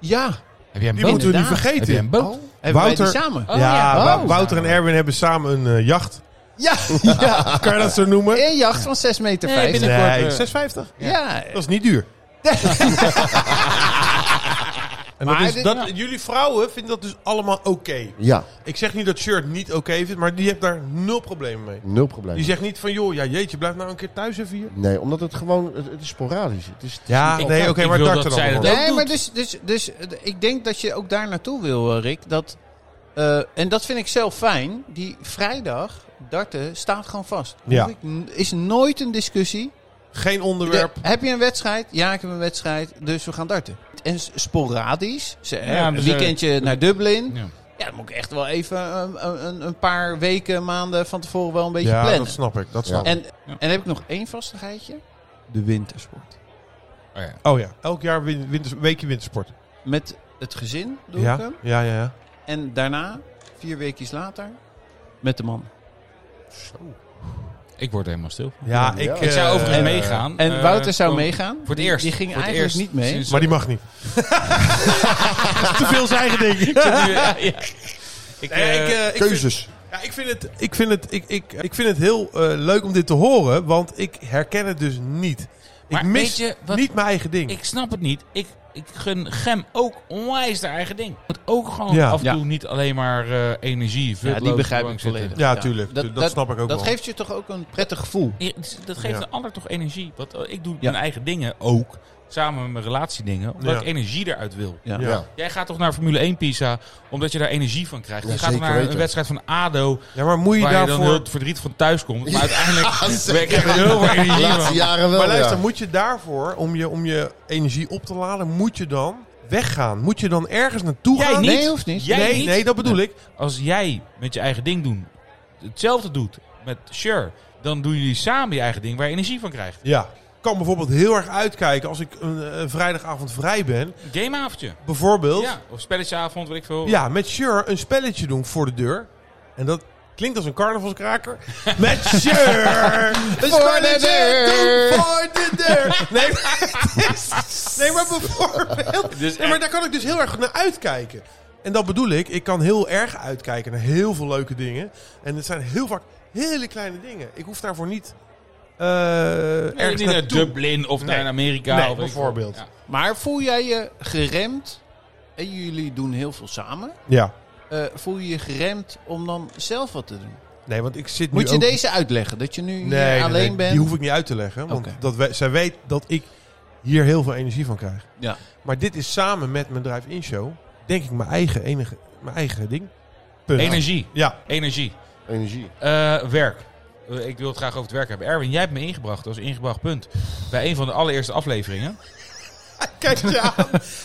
Speaker 5: Ja,
Speaker 3: Heb jij een
Speaker 4: Die Oh. moeten we niet
Speaker 5: inderdaad.
Speaker 3: Heb jij
Speaker 4: vergeten.
Speaker 3: een boot?
Speaker 5: hebben wij die
Speaker 4: Wouter-
Speaker 5: samen.
Speaker 3: Oh,
Speaker 4: ja,
Speaker 3: ja.
Speaker 4: Wou-
Speaker 5: Oh.
Speaker 4: Wouter en Erwin hebben samen een eh, jacht.
Speaker 5: Ja, ja.
Speaker 4: Kan je dat zo noemen?
Speaker 5: Een jacht van 6 meter
Speaker 3: Nee,
Speaker 5: 50.
Speaker 3: binnenkort, eh,
Speaker 4: 6,50.
Speaker 5: Ja,
Speaker 4: Dat is niet duur. En dat
Speaker 5: Maar
Speaker 4: is,
Speaker 5: dit-
Speaker 4: dat,
Speaker 5: ja.
Speaker 4: Jullie vrouwen vinden dat dus allemaal oké.
Speaker 1: ja,
Speaker 4: Ik zeg niet dat Shirt niet oké vindt, maar die heeft daar nul problemen mee.
Speaker 1: nul probleem.
Speaker 4: Die zegt niet van, joh, ja jeetje, blijf nou een keer thuis even hier.
Speaker 1: Nee, omdat het gewoon, het, het is sporadisch. Het is, het is
Speaker 4: Ja,
Speaker 1: niet
Speaker 4: nee,
Speaker 1: altijd-
Speaker 4: oké,
Speaker 3: Ik
Speaker 4: maar
Speaker 3: wil
Speaker 4: darten
Speaker 3: dat
Speaker 4: dan
Speaker 3: zij
Speaker 4: maar.
Speaker 3: dat ook
Speaker 5: nee,
Speaker 3: doet.
Speaker 5: maar dus, dus, dus eh, ik denk dat je ook daar naartoe wil, eh, Rick. Dat, eh, en dat vind ik zelf fijn. Die vrijdag darten staat gewoon vast. Hoef
Speaker 4: Ja.
Speaker 5: ik n- is nooit een discussie.
Speaker 4: Geen onderwerp.
Speaker 5: De- heb je een wedstrijd? Ja, ik heb een wedstrijd. Dus we gaan darten. En s- sporadisch. ze- eh,
Speaker 3: Ja,
Speaker 5: een
Speaker 3: dus, eh,
Speaker 5: weekendje naar Dublin.
Speaker 3: Ja.
Speaker 5: Ja, dan moet ik echt wel even eh, een, een, een paar weken, maanden van tevoren wel een beetje
Speaker 4: ja,
Speaker 5: plannen.
Speaker 4: dat snap ik. Dat
Speaker 1: Ja.
Speaker 4: snap ik.
Speaker 5: En, en heb ik nog één vastigheidje? De wintersport.
Speaker 3: Oh, ja.
Speaker 4: Oh ja, elk jaar win, winters- weekje wintersport.
Speaker 5: Met het gezin doe
Speaker 4: ja?
Speaker 5: ik hem.
Speaker 4: ja, ja, ja.
Speaker 5: En daarna, vier weekjes later, met de man.
Speaker 3: Ik word er helemaal stil. van.
Speaker 4: Ja,
Speaker 1: Ja.
Speaker 4: ik...
Speaker 1: Ik
Speaker 3: Ik
Speaker 4: eh,
Speaker 3: zou overigens
Speaker 5: en-
Speaker 3: meegaan.
Speaker 5: En
Speaker 3: eh,
Speaker 5: Wouter zou
Speaker 3: gewoon
Speaker 5: meegaan.
Speaker 3: Voor het
Speaker 5: Die-
Speaker 3: eerst.
Speaker 5: Die ging
Speaker 3: Voor het
Speaker 5: eigenlijk
Speaker 3: eerst
Speaker 5: niet mee.
Speaker 3: sinds-
Speaker 4: Maar die mag niet. Te veel zijn eigen ding.
Speaker 3: Ja, ja. Ik, eh,
Speaker 4: ik, eh, ik vind-
Speaker 1: Keuzes.
Speaker 4: Ja, ik vind het, ik vind het, ik, ik, ik vind het heel eh, leuk om dit te horen, want ik herken het dus niet.
Speaker 3: Maar
Speaker 4: ik
Speaker 3: weet
Speaker 4: mis
Speaker 3: je wat-
Speaker 4: niet mijn eigen ding.
Speaker 3: ik snap het niet. Ik, ik gun Gem ook onwijs haar eigen ding. Want ook gewoon
Speaker 4: Ja.
Speaker 3: af en
Speaker 5: Ja.
Speaker 3: toe niet alleen maar eh, energie.
Speaker 5: Ja, die
Speaker 3: vulpeloos
Speaker 5: begrijp
Speaker 3: op de
Speaker 5: ik
Speaker 3: bank zitten.
Speaker 5: volledig.
Speaker 4: Ja, tuurlijk. Tu- dat snap ik ook
Speaker 5: Dat
Speaker 4: wel.
Speaker 5: geeft je toch ook een prettig gevoel.
Speaker 3: Ja, dus Dat geeft
Speaker 4: Ja.
Speaker 3: de ander toch energie. Want eh, ik doe
Speaker 5: Ja.
Speaker 3: mijn eigen dingen ook. Samen met mijn relatiedingen. Omdat
Speaker 4: Ja.
Speaker 3: ik energie eruit wil.
Speaker 5: Ja.
Speaker 1: Ja.
Speaker 3: Jij gaat toch naar Formule 1 Pisa. Omdat je daar energie van krijgt.
Speaker 1: Ja,
Speaker 3: je gaat toch
Speaker 1: zeker
Speaker 3: naar een
Speaker 1: weten.
Speaker 3: wedstrijd van ADO.
Speaker 4: Ja, maar moet je
Speaker 3: waar je dan
Speaker 4: daarvoor...
Speaker 3: heel het verdriet van thuis komt. Maar uiteindelijk
Speaker 1: zeker.
Speaker 3: werk je er heel veel
Speaker 1: De
Speaker 3: energie
Speaker 1: laatste
Speaker 3: van.
Speaker 1: jaren wel,
Speaker 4: maar luister,
Speaker 1: ja.
Speaker 4: moet je daarvoor, om je, om je energie op te laden, moet je dan weggaan? Moet je dan ergens naartoe
Speaker 3: Jij
Speaker 4: gaan?
Speaker 3: niet.
Speaker 5: Nee, hoeft niet.
Speaker 3: Jij
Speaker 4: nee,
Speaker 3: niet.
Speaker 4: nee, dat bedoel ik.
Speaker 3: Als jij met je eigen ding doen. Hetzelfde doet met Sure. Dan doen jullie samen je eigen ding waar je energie van krijgt.
Speaker 4: Ja. Ik kan bijvoorbeeld heel erg uitkijken als ik een eh, vrijdagavond vrij ben.
Speaker 3: Een Gameavondje.
Speaker 4: Bijvoorbeeld,
Speaker 3: Ja, of spelletjeavond, weet ik veel.
Speaker 4: Ja, met Sure een spelletje doen voor de deur. En dat klinkt als een carnavalskraker. Met Sure! Een spelletje
Speaker 1: deur.
Speaker 4: doen voor de deur! Nee, maar, het is- nee, maar bijvoorbeeld. Nee, maar daar kan ik dus heel erg naar uitkijken. En dat bedoel ik, ik kan heel erg uitkijken naar heel veel leuke dingen. En het zijn heel vaak hele kleine dingen. Ik hoef daarvoor niet. eh
Speaker 3: Nee,
Speaker 4: ergens
Speaker 3: niet naar
Speaker 4: naartoe.
Speaker 3: Dublin of
Speaker 4: Nee.
Speaker 3: naar Amerika.
Speaker 4: Nee,
Speaker 3: of weet ik veel.
Speaker 4: bijvoorbeeld.
Speaker 3: Ja.
Speaker 5: Maar voel jij je geremd? En jullie doen heel veel samen.
Speaker 4: Ja.
Speaker 5: Eh, voel je je geremd om dan zelf wat te doen?
Speaker 4: Nee, want ik zit nu.
Speaker 5: Moet je
Speaker 4: ook-
Speaker 5: deze uitleggen? Dat je nu hier
Speaker 4: Nee, nee,
Speaker 5: alleen
Speaker 4: nee,
Speaker 5: bent?
Speaker 4: die hoef ik niet uit te leggen. Want
Speaker 5: Oké.
Speaker 4: dat we- zij weet dat ik hier heel veel energie van krijg.
Speaker 5: Ja.
Speaker 4: Maar dit is samen met mijn drive-in show, denk ik, mijn eigen, enige, mijn eigen ding. Punt.
Speaker 3: Energie.
Speaker 4: Ja,
Speaker 3: Energie.
Speaker 1: Energie.
Speaker 3: Eh, werk. Eh, Ik wil het graag over het werk hebben. Erwin, jij hebt me ingebracht als ingebracht punt. Bij een van de allereerste afleveringen.
Speaker 4: kijk je aan.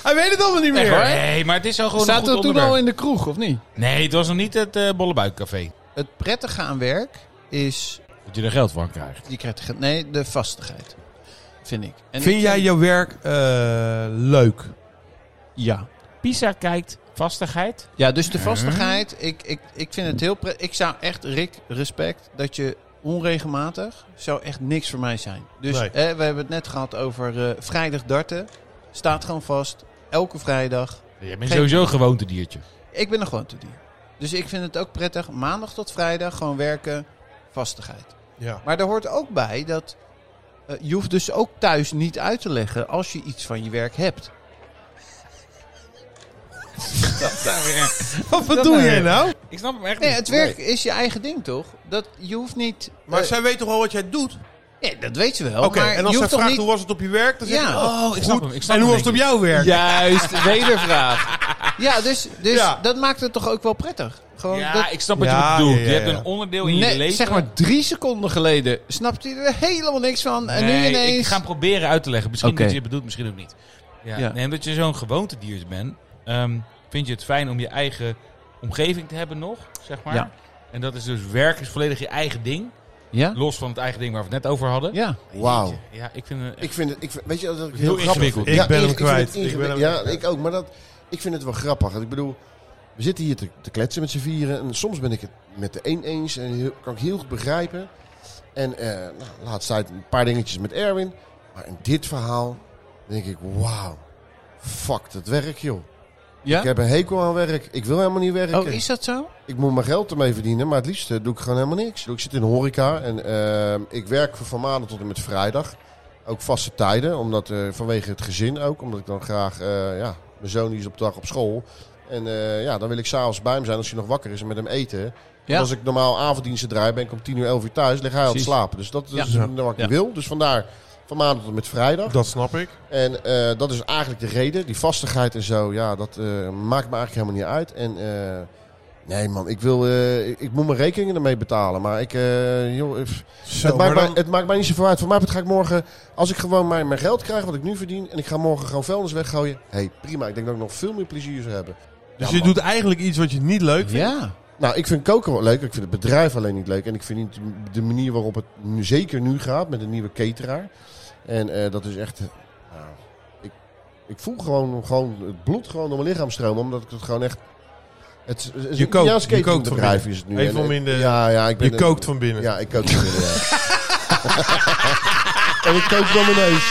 Speaker 4: Hij weet het allemaal niet meer.
Speaker 3: Nee, maar het is al gewoon
Speaker 5: Staat
Speaker 3: een
Speaker 5: er
Speaker 3: goed
Speaker 5: toen al
Speaker 3: onderwerp.
Speaker 5: in de kroeg, of niet?
Speaker 3: Nee, het was nog niet het eh bollebuikcafé.
Speaker 5: Het prettige aan werk is...
Speaker 3: Dat je er geld van krijgt.
Speaker 5: Je krijgt, ge- nee, de vastigheid. Vind ik. En
Speaker 4: Vind
Speaker 5: ik-
Speaker 4: jij jouw werk eh, leuk?
Speaker 5: Ja.
Speaker 3: Pisa kijkt, vastigheid.
Speaker 5: Ja, dus de vastigheid. Ik, ik, ik vind het heel prettig. Ik zou echt, Rick, respect dat je onregelmatig zou echt niks voor mij zijn. Dus
Speaker 4: Nee.
Speaker 5: hè, we hebben het net gehad over eh, vrijdag darten. Staat gewoon vast. Elke vrijdag.
Speaker 3: Je bent
Speaker 5: Geen-
Speaker 3: sowieso een gewoontediertje.
Speaker 5: Ik ben er gewoon te dier. Dus ik vind het ook prettig. Maandag tot vrijdag gewoon werken. Vastigheid.
Speaker 4: Ja.
Speaker 5: Maar daar hoort ook bij dat eh, je hoeft dus ook thuis niet uit te leggen als je iets van je werk hebt.
Speaker 4: Wat bedoel
Speaker 5: nou
Speaker 4: jij
Speaker 5: weer?
Speaker 4: nou?
Speaker 3: Ik snap hem echt
Speaker 5: Nee,
Speaker 3: niet.
Speaker 5: het werk is je eigen ding, toch? Dat, je hoeft niet...
Speaker 4: Maar
Speaker 5: eh,
Speaker 4: zij weet toch wel wat jij doet?
Speaker 5: Ja, dat weet ze wel.
Speaker 4: Oké,
Speaker 5: Oh, maar
Speaker 4: en als
Speaker 5: je
Speaker 4: zij
Speaker 5: hoeft toch
Speaker 4: vraagt
Speaker 5: niet...
Speaker 4: hoe was het op je werk, dan zeg
Speaker 5: Ja.
Speaker 4: je, oh,
Speaker 3: ik snap
Speaker 4: goed.
Speaker 3: hem, ik snap hem,
Speaker 4: en hoe was het op
Speaker 3: denk
Speaker 4: jouw werk?
Speaker 5: Juist, wedervraag. Ja, dus, dus
Speaker 4: Ja.
Speaker 5: dat maakt het toch ook wel prettig. Gewoon
Speaker 3: Ja,
Speaker 5: dat...
Speaker 3: ik snap wat
Speaker 4: Ja,
Speaker 3: je bedoelt.
Speaker 4: ja,
Speaker 3: Je
Speaker 4: ja,
Speaker 3: hebt
Speaker 4: ja.
Speaker 3: een onderdeel in
Speaker 5: Net,
Speaker 3: je leven.
Speaker 5: zeg maar drie seconden geleden snapte hij er helemaal niks van. en nu
Speaker 3: Nee,
Speaker 5: ineens...
Speaker 3: Ik ga hem proberen uit te leggen. Misschien
Speaker 5: Oké.
Speaker 3: dat je het bedoelt, misschien ook niet. Ja.
Speaker 5: Ja.
Speaker 3: Nee, omdat je zo'n gewoontedier bent, ehm, vind je het fijn om je eigen omgeving te hebben nog, zeg maar.
Speaker 5: Ja.
Speaker 3: En dat is dus werk is volledig je eigen ding.
Speaker 5: Ja?
Speaker 3: Los van het eigen ding waar we het net over hadden.
Speaker 5: Ja.
Speaker 1: Wauw.
Speaker 3: eh, Ja, ik vind het...
Speaker 1: Ik vind het, ik, vind- weet je, dat ik
Speaker 3: Heel
Speaker 1: heel, grappig
Speaker 3: ingewikkeld.
Speaker 1: vind?
Speaker 4: Ik ben hem
Speaker 1: vind het
Speaker 4: kwijt. Ik
Speaker 1: ingewikkeld.
Speaker 4: ben hem
Speaker 1: ja,
Speaker 4: kwijt.
Speaker 1: ik ook. Maar dat, ik vind het wel grappig. Want Ik bedoel, we zitten hier te, te kletsen met z'n vieren. En soms ben ik het met de een eens. En heel, kan ik heel goed begrijpen. En eh nou, laatst uit een paar dingetjes met Erwin. Maar in dit verhaal denk ik, wauw. Fuck, dat werk, joh.
Speaker 5: Ja?
Speaker 1: Ik heb een hekel aan werk. Ik wil helemaal niet werken.
Speaker 5: Oh, is dat zo?
Speaker 1: Ik moet mijn geld ermee verdienen, maar het liefst eh, doe ik gewoon helemaal niks. Ik bedoel, Ik zit in de horeca en ehm, ik werk van- van maandag tot en met vrijdag. Ook vaste tijden, omdat, eh, vanwege het gezin ook. Omdat ik dan graag, eh, ja, mijn zoon die is op de dag op school. En eh, ja, dan wil ik s'avonds bij hem zijn als hij nog wakker is en met hem eten.
Speaker 5: Ja.
Speaker 1: En Als ik normaal avonddiensten draai, ben ik om 10 uur, 11 uur thuis, lig hij al te
Speaker 5: Precies.
Speaker 1: slapen. Dus dat is
Speaker 5: Ja.
Speaker 1: eh, wat ik
Speaker 5: Ja.
Speaker 1: wil. Dus vandaar van maandag tot en met vrijdag.
Speaker 4: Dat snap ik.
Speaker 1: En eh, dat is eigenlijk de reden. Die vastigheid en zo, ja, dat eh, maakt me eigenlijk helemaal niet uit. En eh, nee man, ik, wil, eh, ik, ik moet mijn rekeningen ermee betalen. Maar ik, eh, joh, eh,
Speaker 4: Zo,
Speaker 1: het,
Speaker 4: maar
Speaker 1: maakt
Speaker 4: dan-
Speaker 1: mij, het maakt mij niet zoveel uit. Voor mij betreft ga ik morgen, als ik gewoon mijn, mijn geld krijg wat ik nu verdien... en ik ga morgen gewoon vuilnis weggooien. Hé, hey, prima. Ik denk dat ik nog veel meer plezier zou hebben.
Speaker 4: dus
Speaker 1: Ja,
Speaker 4: je
Speaker 1: man.
Speaker 4: doet eigenlijk iets wat je niet leuk vindt.
Speaker 5: Ja.
Speaker 1: Nou, ik vind koken wel leuk. Ik vind het bedrijf alleen niet leuk. En ik vind niet de manier waarop het nu, zeker nu gaat met een nieuwe cateraar. En eh, dat is echt... eh, nou, ik, ik voel gewoon, gewoon het bloed gewoon door mijn lichaam stromen. Omdat ik het gewoon echt... Het is- het is
Speaker 4: Je
Speaker 1: een
Speaker 4: kookt-
Speaker 1: Italiaans
Speaker 4: je kookt van
Speaker 1: cateringbedrijf is het nu.
Speaker 4: Even
Speaker 1: En-
Speaker 4: om in de-
Speaker 1: Ja, ja, ik ben
Speaker 4: Je
Speaker 1: een-
Speaker 4: kookt van binnen.
Speaker 1: Ja, ik kook van binnen, ja. En ik kook van mijn neus.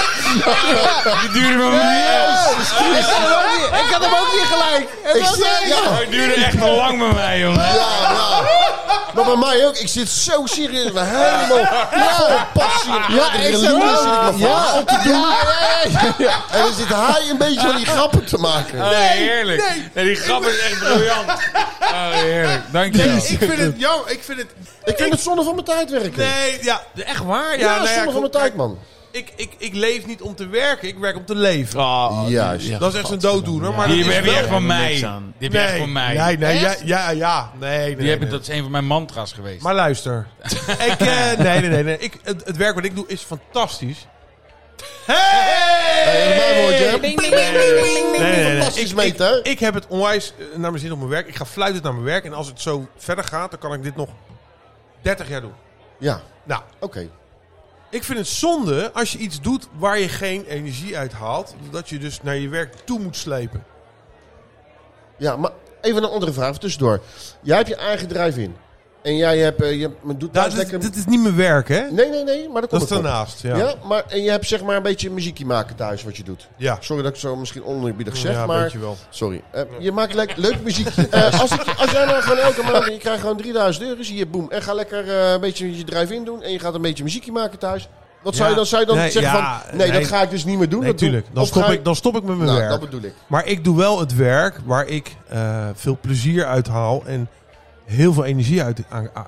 Speaker 3: Het duurde maar een
Speaker 1: Ik had hem ook niet gelijk. Ik zit, ja,
Speaker 3: Het duurde echt te lang bij mij, joh.
Speaker 1: ja, ja. Maar bij mij ook. Ik zit zo serieus. Maar helemaal ja. vol passie. Ja, ik zit me ja. op te doen. En dan zit hij een beetje aan die grappen te maken.
Speaker 3: Oh, heerlijk. Nee. die grap is echt briljant. Oh, heerlijk. Dank je wel.
Speaker 4: Ik vind het jammer. Ik vind het...
Speaker 1: Ik vind het zonde van mijn tijd werken.
Speaker 4: Nee, ja, echt waar?
Speaker 1: ja,
Speaker 4: nou
Speaker 1: zonde van
Speaker 4: goed,
Speaker 1: mijn tijd, man.
Speaker 4: Ik, ik, ik leef niet om te werken, ik werk om te leven.
Speaker 1: Juist.
Speaker 4: dat is echt een dooddoener. Maar
Speaker 3: Die
Speaker 4: dat is
Speaker 3: heb Oh. je
Speaker 4: wel-
Speaker 3: echt van mij.
Speaker 5: niks
Speaker 3: Die
Speaker 5: aan.
Speaker 3: heb je
Speaker 4: Nee,
Speaker 3: echt van mij.
Speaker 4: Nee, nee, ja,
Speaker 5: Echt?
Speaker 4: ja, ja. Nee, nee,
Speaker 3: Die heb ik,
Speaker 4: nee.
Speaker 3: dat is een van mijn mantra's geweest.
Speaker 4: Maar luister. ik, eh, nee, nee, nee. nee. Ik, het, het werk wat ik doe is fantastisch. Hey!
Speaker 1: Hey, mijn woordje.
Speaker 4: Nee, nee, nee.
Speaker 1: Fantastisch,
Speaker 4: Ik-
Speaker 1: meet, hè?
Speaker 4: Ik, ik heb het onwijs eh, naar mijn zin op mijn werk. Ik ga fluitend naar mijn werk. En als het zo verder gaat, dan kan ik dit nog 30 jaar doen.
Speaker 1: Ja,
Speaker 4: Nou,
Speaker 1: oké.
Speaker 4: ik vind het zonde als je iets doet waar je geen energie uit haalt. Dat je dus naar je werk toe moet slepen.
Speaker 1: Ja, maar even een andere vraag tussendoor. Jij hebt je eigen drive in. En jij hebt, eh, je men doet thuis
Speaker 4: Dat,
Speaker 1: lekker...
Speaker 4: is- dit is niet mijn werk, hè?
Speaker 1: Nee, nee, nee, maar dat
Speaker 4: Dat
Speaker 1: komt
Speaker 4: is
Speaker 1: ook wel.
Speaker 4: daarnaast, ja.
Speaker 1: Ja, maar en je hebt zeg maar een beetje muziekje maken thuis wat je doet.
Speaker 4: Ja.
Speaker 1: Sorry dat ik zo misschien oneerbiedig zeg,
Speaker 4: Ja,
Speaker 1: maar...
Speaker 4: weet je wel.
Speaker 1: Sorry. Eh, je maakt leuk, leuk muziek. Eh, als, ik, als jij nou gewoon elke maand... Je krijgt gewoon 3000 euro, zie je, boem. En ga lekker eh, een beetje je drive-in doen. En je gaat een beetje muziekje maken thuis. Wat zou je
Speaker 4: Ja.
Speaker 1: dan, zou je dan
Speaker 4: Nee,
Speaker 1: zeggen
Speaker 4: ja,
Speaker 1: van... Nee,
Speaker 4: nee.
Speaker 1: dat ga ik dus niet meer doen.
Speaker 4: Nee,
Speaker 1: dat doe-
Speaker 4: tuurlijk. Dan
Speaker 1: of
Speaker 4: stop,
Speaker 1: ga je-
Speaker 4: ik, dan stop ik met mijn
Speaker 1: Nou,
Speaker 4: werk.
Speaker 1: dat bedoel ik.
Speaker 4: Maar ik doe wel het werk waar ik eh, veel plezier uit haal en heel veel energie uit. aan- aan-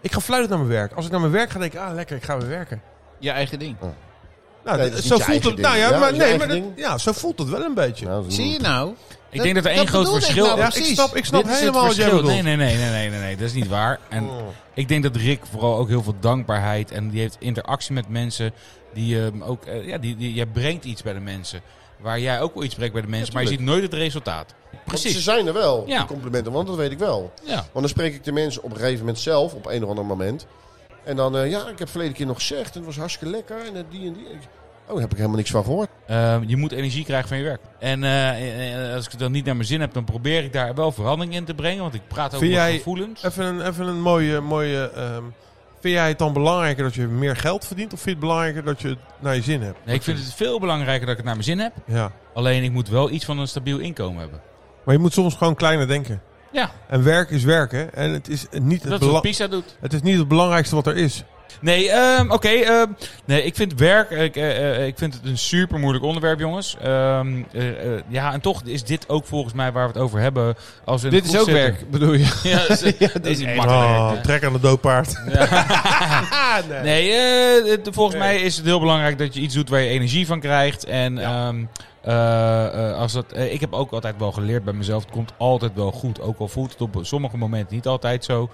Speaker 4: ik ga fluitend naar mijn werk. Als ik naar mijn werk ga, denk ik, ah lekker, ik ga weer werken.
Speaker 5: Je eigen ding.
Speaker 4: Nou,
Speaker 1: Nee,
Speaker 4: d-
Speaker 1: dat is
Speaker 4: zo
Speaker 1: niet je
Speaker 4: voelt
Speaker 1: eigen
Speaker 4: het. Nou
Speaker 1: ding.
Speaker 4: ja,
Speaker 1: Ja, dat
Speaker 4: maar,
Speaker 1: is je
Speaker 4: nee, maar
Speaker 1: eigen
Speaker 4: dat-
Speaker 1: ding.
Speaker 4: ja, zo voelt het wel een beetje.
Speaker 1: Nou, dat is
Speaker 5: Zie je nou?
Speaker 3: ik denk dat er één groot
Speaker 5: bedoel ik
Speaker 3: verschil
Speaker 5: nou
Speaker 4: ja, ik
Speaker 5: precies.
Speaker 4: snap, ik snap
Speaker 3: Dit is het
Speaker 4: helemaal wat jij
Speaker 3: verschil.
Speaker 4: bedoelt. Oh.
Speaker 3: Nee, nee, nee, nee, nee, nee, nee, dat is niet waar. En ik denk dat Rick vooral ook heel veel dankbaarheid en die heeft interactie met mensen die ehm, ook, eh, ja, die, die, jij brengt iets bij de mensen. Waar jij ook wel iets brengt bij de mensen, maar je ziet nooit het resultaat.
Speaker 1: Want
Speaker 3: Precies.
Speaker 1: ze zijn er wel,
Speaker 3: Ja.
Speaker 1: die complimenten, want dat weet ik wel.
Speaker 3: Ja.
Speaker 1: Want dan spreek ik de mensen op een gegeven moment zelf, op een of ander moment. En dan, eh, ja, ik heb verleden keer nog gezegd, en het was hartstikke lekker, en eh, die en die. Ik- Oh, daar heb ik helemaal niks van gehoord.
Speaker 3: Ehm, je moet energie krijgen van je werk. En eh, eh, als ik het dan niet naar mijn zin heb, dan probeer ik daar wel verandering in te brengen. Want ik praat over
Speaker 4: Vind
Speaker 3: mijn
Speaker 4: jij-
Speaker 3: gevoelens.
Speaker 4: Even een, even een mooie... mooie ehm, vind jij het dan belangrijker dat je meer geld verdient? Of vind je het belangrijker dat je het naar je zin hebt?
Speaker 3: Nee, ik vind het veel belangrijker dat ik het naar mijn zin heb.
Speaker 4: Ja.
Speaker 3: Alleen ik moet wel iets van een stabiel inkomen hebben.
Speaker 4: Maar je moet soms gewoon kleiner denken.
Speaker 3: Ja,
Speaker 4: En werk is werken. En het is niet het,
Speaker 3: dat is wat
Speaker 4: bela-
Speaker 3: Pisa doet.
Speaker 4: het, is niet het belangrijkste wat er is.
Speaker 3: Nee, ehm, oké. ehm, nee, ik vind werk. Ik, eh, eh, ik vind het een super moeilijk onderwerp, jongens. Ehm, eh, eh, ja, en toch is dit ook volgens mij waar we het over hebben. Als we in
Speaker 5: Dit
Speaker 3: de
Speaker 5: is
Speaker 3: kroeg
Speaker 5: ook
Speaker 3: zitten.
Speaker 5: werk, bedoel je?
Speaker 3: Ja, dat is, dat is niet makkelijk.
Speaker 4: Oh, trek aan de doodpaard.
Speaker 5: Ah,
Speaker 3: Nee, eh, het- volgens mij is het heel belangrijk dat je iets doet waar je energie van krijgt. En ehm, eh, eh, als dat, eh, ik heb ook altijd wel geleerd bij mezelf, het komt altijd wel goed. Ook al voelt het op sommige momenten niet altijd zo.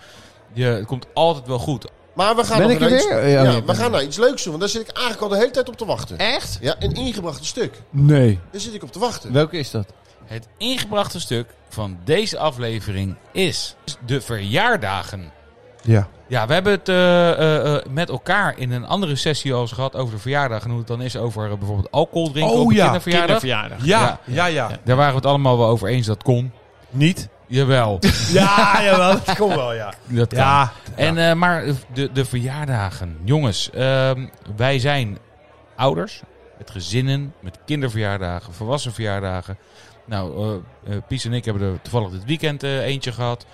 Speaker 3: Je, het komt altijd wel goed.
Speaker 1: Maar we gaan
Speaker 5: Ben
Speaker 1: nog
Speaker 5: ik er
Speaker 1: naar iets-
Speaker 5: weer?
Speaker 1: Ja,
Speaker 5: Ja, nee,
Speaker 1: we
Speaker 5: ben
Speaker 1: gaan naar iets leuks doen, want daar zit ik eigenlijk al de hele tijd op te wachten.
Speaker 5: Echt?
Speaker 1: Ja, een ingebrachte stuk.
Speaker 5: Nee.
Speaker 1: Daar zit ik op te wachten.
Speaker 5: Welke is dat?
Speaker 3: Het ingebrachte stuk van deze aflevering is de verjaardagen.
Speaker 4: Ja.
Speaker 3: Ja, we hebben het eh, eh, eh, met elkaar in een andere sessie al eens gehad over de verjaardag. En hoe het dan is over eh, bijvoorbeeld alcohol drinken
Speaker 4: Oh
Speaker 3: op een
Speaker 4: ja,
Speaker 3: kinderverjaardag. nou.
Speaker 5: Kinderverjaardag.
Speaker 4: Ja, ja, ja.
Speaker 3: Daar waren we het allemaal wel over eens dat kon.
Speaker 4: Niet?
Speaker 3: Jawel,
Speaker 4: Ja, jawel. Dat komt wel, ja.
Speaker 3: dat kan.
Speaker 4: Ja.
Speaker 3: En, eh, maar de, de verjaardagen. Jongens, ehm, wij zijn ouders met gezinnen, met kinderverjaardagen, volwassen verjaardagen. Nou, eh, eh, Pies en ik hebben er toevallig dit weekend eh, eentje gehad.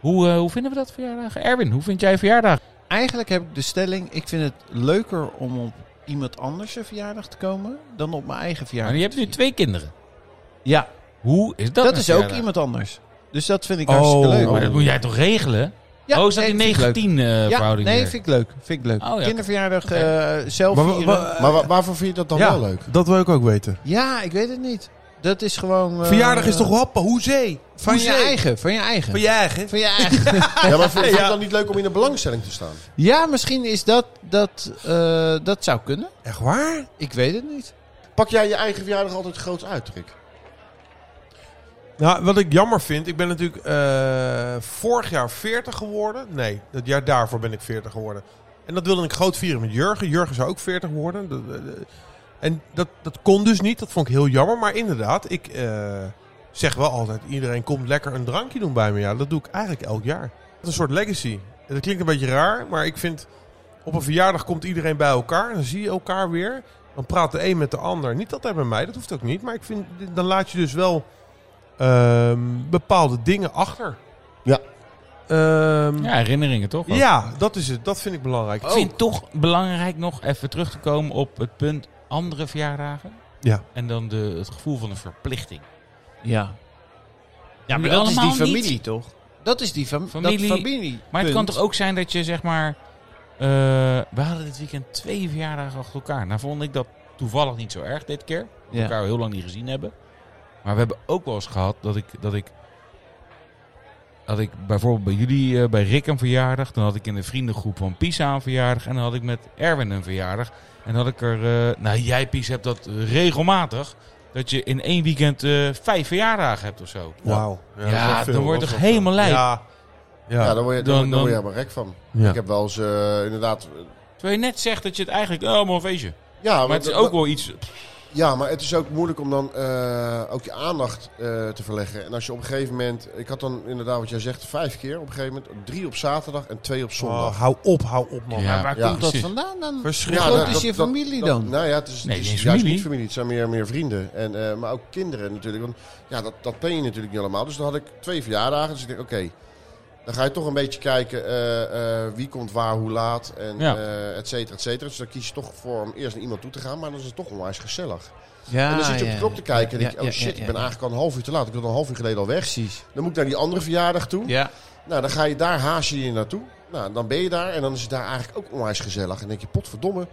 Speaker 3: Hoe, eh, hoe vinden we dat verjaardagen? Erwin, hoe vind jij verjaardag?
Speaker 5: Eigenlijk heb ik de stelling, ik vind het leuker om op iemand anders zijn verjaardag te komen dan op mijn eigen verjaardag.
Speaker 3: Nou, je hebt nu twee kinderen.
Speaker 5: Ja,
Speaker 3: Hoe is dat? een
Speaker 5: dat is ook
Speaker 3: verjaardag?
Speaker 5: iemand anders. Dus dat vind ik
Speaker 4: Oh.
Speaker 5: hartstikke leuk.
Speaker 3: Maar dat moet jij toch regelen?
Speaker 5: Ja,
Speaker 3: oh, is dat
Speaker 5: nee,
Speaker 3: die
Speaker 5: vind ik leuk.
Speaker 3: 19 eh
Speaker 5: ja,
Speaker 3: verhouding?
Speaker 5: nee,
Speaker 3: weer?
Speaker 5: vind ik leuk. Vind ik leuk.
Speaker 3: Oh, ja.
Speaker 5: Kinderverjaardag
Speaker 3: Oké.
Speaker 5: eh, zelf
Speaker 4: Maar, wa-
Speaker 5: vieren.
Speaker 4: wa-
Speaker 1: Maar wa- waarvoor vind je dat dan
Speaker 4: eh, ja,
Speaker 1: wel leuk?
Speaker 4: dat wil ik ook weten.
Speaker 5: ja, ik weet het niet. Dat is gewoon... eh,
Speaker 4: Verjaardag is toch happen? Hoezee?
Speaker 5: van je
Speaker 4: Hoezee?
Speaker 5: eigen. Van je eigen.
Speaker 4: Van je eigen?
Speaker 5: Van je eigen.
Speaker 1: Ja, maar vind vind je
Speaker 4: Ja.
Speaker 1: het dan niet leuk om in de belangstelling te staan?
Speaker 5: ja, misschien is dat... Dat, eh, dat zou kunnen.
Speaker 4: Echt waar?
Speaker 5: Ik weet het niet.
Speaker 1: Pak jij je eigen verjaardag altijd groot uit, Rick?
Speaker 4: Nou, wat ik jammer vind, ik ben natuurlijk eh, vorig jaar 40 geworden. Nee, dat jaar daarvoor ben ik 40 geworden. En dat wilde ik groot vieren met Jurgen. Jurgen zou ook 40 worden. Dat- dat- dat- En dat, dat kon dus niet, dat vond ik heel jammer. Maar inderdaad, ik, eh, zeg wel altijd, iedereen komt lekker een drankje doen bij me. Ja, dat doe ik eigenlijk elk jaar. Dat is een soort legacy. En Dat klinkt een beetje raar, maar ik vind... Op een verjaardag komt iedereen bij elkaar. Dan zie je elkaar weer. Dan praat de een met de ander. Niet altijd bij mij, dat hoeft ook niet. Maar ik vind, dan laat je dus wel ehm, bepaalde dingen achter.
Speaker 1: Ja.
Speaker 4: Ehm,
Speaker 3: Ja, herinneringen toch? ook?
Speaker 4: ja, dat is het. Dat vind ik belangrijk.
Speaker 3: Ik vind het
Speaker 5: Oh.
Speaker 3: toch belangrijk nog even terug te komen op het punt andere verjaardagen.
Speaker 4: Ja.
Speaker 3: En dan de, het gevoel van een verplichting.
Speaker 5: Ja. Ja,
Speaker 3: Nu
Speaker 5: maar dat is die
Speaker 3: allemaal
Speaker 5: familie
Speaker 3: niet.
Speaker 5: toch? Dat is die fam
Speaker 3: Familie.
Speaker 5: familie. Dat familie.
Speaker 3: Maar het kan
Speaker 5: punt.
Speaker 3: toch ook zijn dat je zeg maar... eh, we hadden dit weekend twee verjaardagen achter elkaar. Nou vond ik dat toevallig niet zo erg dit keer.
Speaker 5: Ja.
Speaker 3: elkaar heel lang niet gezien hebben. Maar we hebben ook wel eens gehad dat ik. Dat ik, dat ik bijvoorbeeld bij jullie, eh, bij Rick een verjaardag. Dan had ik in de vriendengroep van Pisa een verjaardag. En dan had ik met Erwin een verjaardag. En dan had ik er. eh, nou, jij Pisa hebt dat regelmatig. Dat je in één weekend eh, vijf verjaardagen hebt of zo.
Speaker 4: Wauw.
Speaker 3: Ja,
Speaker 4: dat is wel
Speaker 3: dan
Speaker 4: veel,
Speaker 3: word je
Speaker 4: dat
Speaker 3: toch
Speaker 4: is wel
Speaker 3: helemaal
Speaker 4: veel.
Speaker 3: lijp.
Speaker 4: Ja. Ja. Oh,
Speaker 1: Ja, daar word je, daar word-
Speaker 3: Dan-
Speaker 1: daar word je
Speaker 3: dan-
Speaker 1: helemaal gek van.
Speaker 4: Ja.
Speaker 1: Ik heb wel eens eh, inderdaad...
Speaker 3: Terwijl je net zegt dat je het eigenlijk. Oh, maar een feestje.
Speaker 1: Ja,
Speaker 3: Maar het is ook wel iets.
Speaker 1: Ja, maar het is ook moeilijk om dan eh, ook je aandacht eh, te verleggen. En als je op een gegeven moment... Ik had dan inderdaad wat jij zegt, vijf keer op een gegeven moment. Drie op zaterdag en twee op zondag.
Speaker 4: Oh, hou op, hou op, man.
Speaker 3: Ja,
Speaker 4: Ja.
Speaker 3: waar
Speaker 1: ja,
Speaker 3: komt
Speaker 5: dat
Speaker 3: dat van?
Speaker 5: vandaan dan?
Speaker 4: Verschrikkelijk.
Speaker 5: Hoe groot
Speaker 1: nou,
Speaker 5: is je familie
Speaker 1: dat-
Speaker 5: dan?
Speaker 1: Nou ja, het is,
Speaker 3: Nee,
Speaker 1: het
Speaker 3: geen
Speaker 1: is juist
Speaker 3: familie.
Speaker 1: niet familie. Het zijn meer, meer vrienden. En, eh, maar ook kinderen natuurlijk. Want ja, dat, dat pen je natuurlijk niet allemaal. Dus dan had ik twee verjaardagen. Dus ik denk, oké. dan ga je toch een beetje kijken eh, eh, wie komt waar, hoe laat. En
Speaker 3: Ja.
Speaker 1: eh, et cetera, et cetera. Dus dan kies je toch voor om eerst naar iemand toe te gaan. Maar dan is het toch onwijs gezellig.
Speaker 5: Ah, Ja,
Speaker 1: en dan zit je op de klok te kijken. En
Speaker 5: ja,
Speaker 1: denk je, oh
Speaker 5: ja,
Speaker 1: shit,
Speaker 5: ja,
Speaker 1: ik
Speaker 5: ja,
Speaker 1: ben
Speaker 5: ja.
Speaker 1: eigenlijk al een half uur te laat. Ik wil al een half uur geleden al weg.
Speaker 5: Precies.
Speaker 1: Dan moet ik naar die andere verjaardag toe.
Speaker 5: Ja.
Speaker 1: Nou, dan ga je daar haas je je naartoe. Nou, dan ben je daar en dan is het daar eigenlijk ook onwijs gezellig. En dan denk je, potverdomme,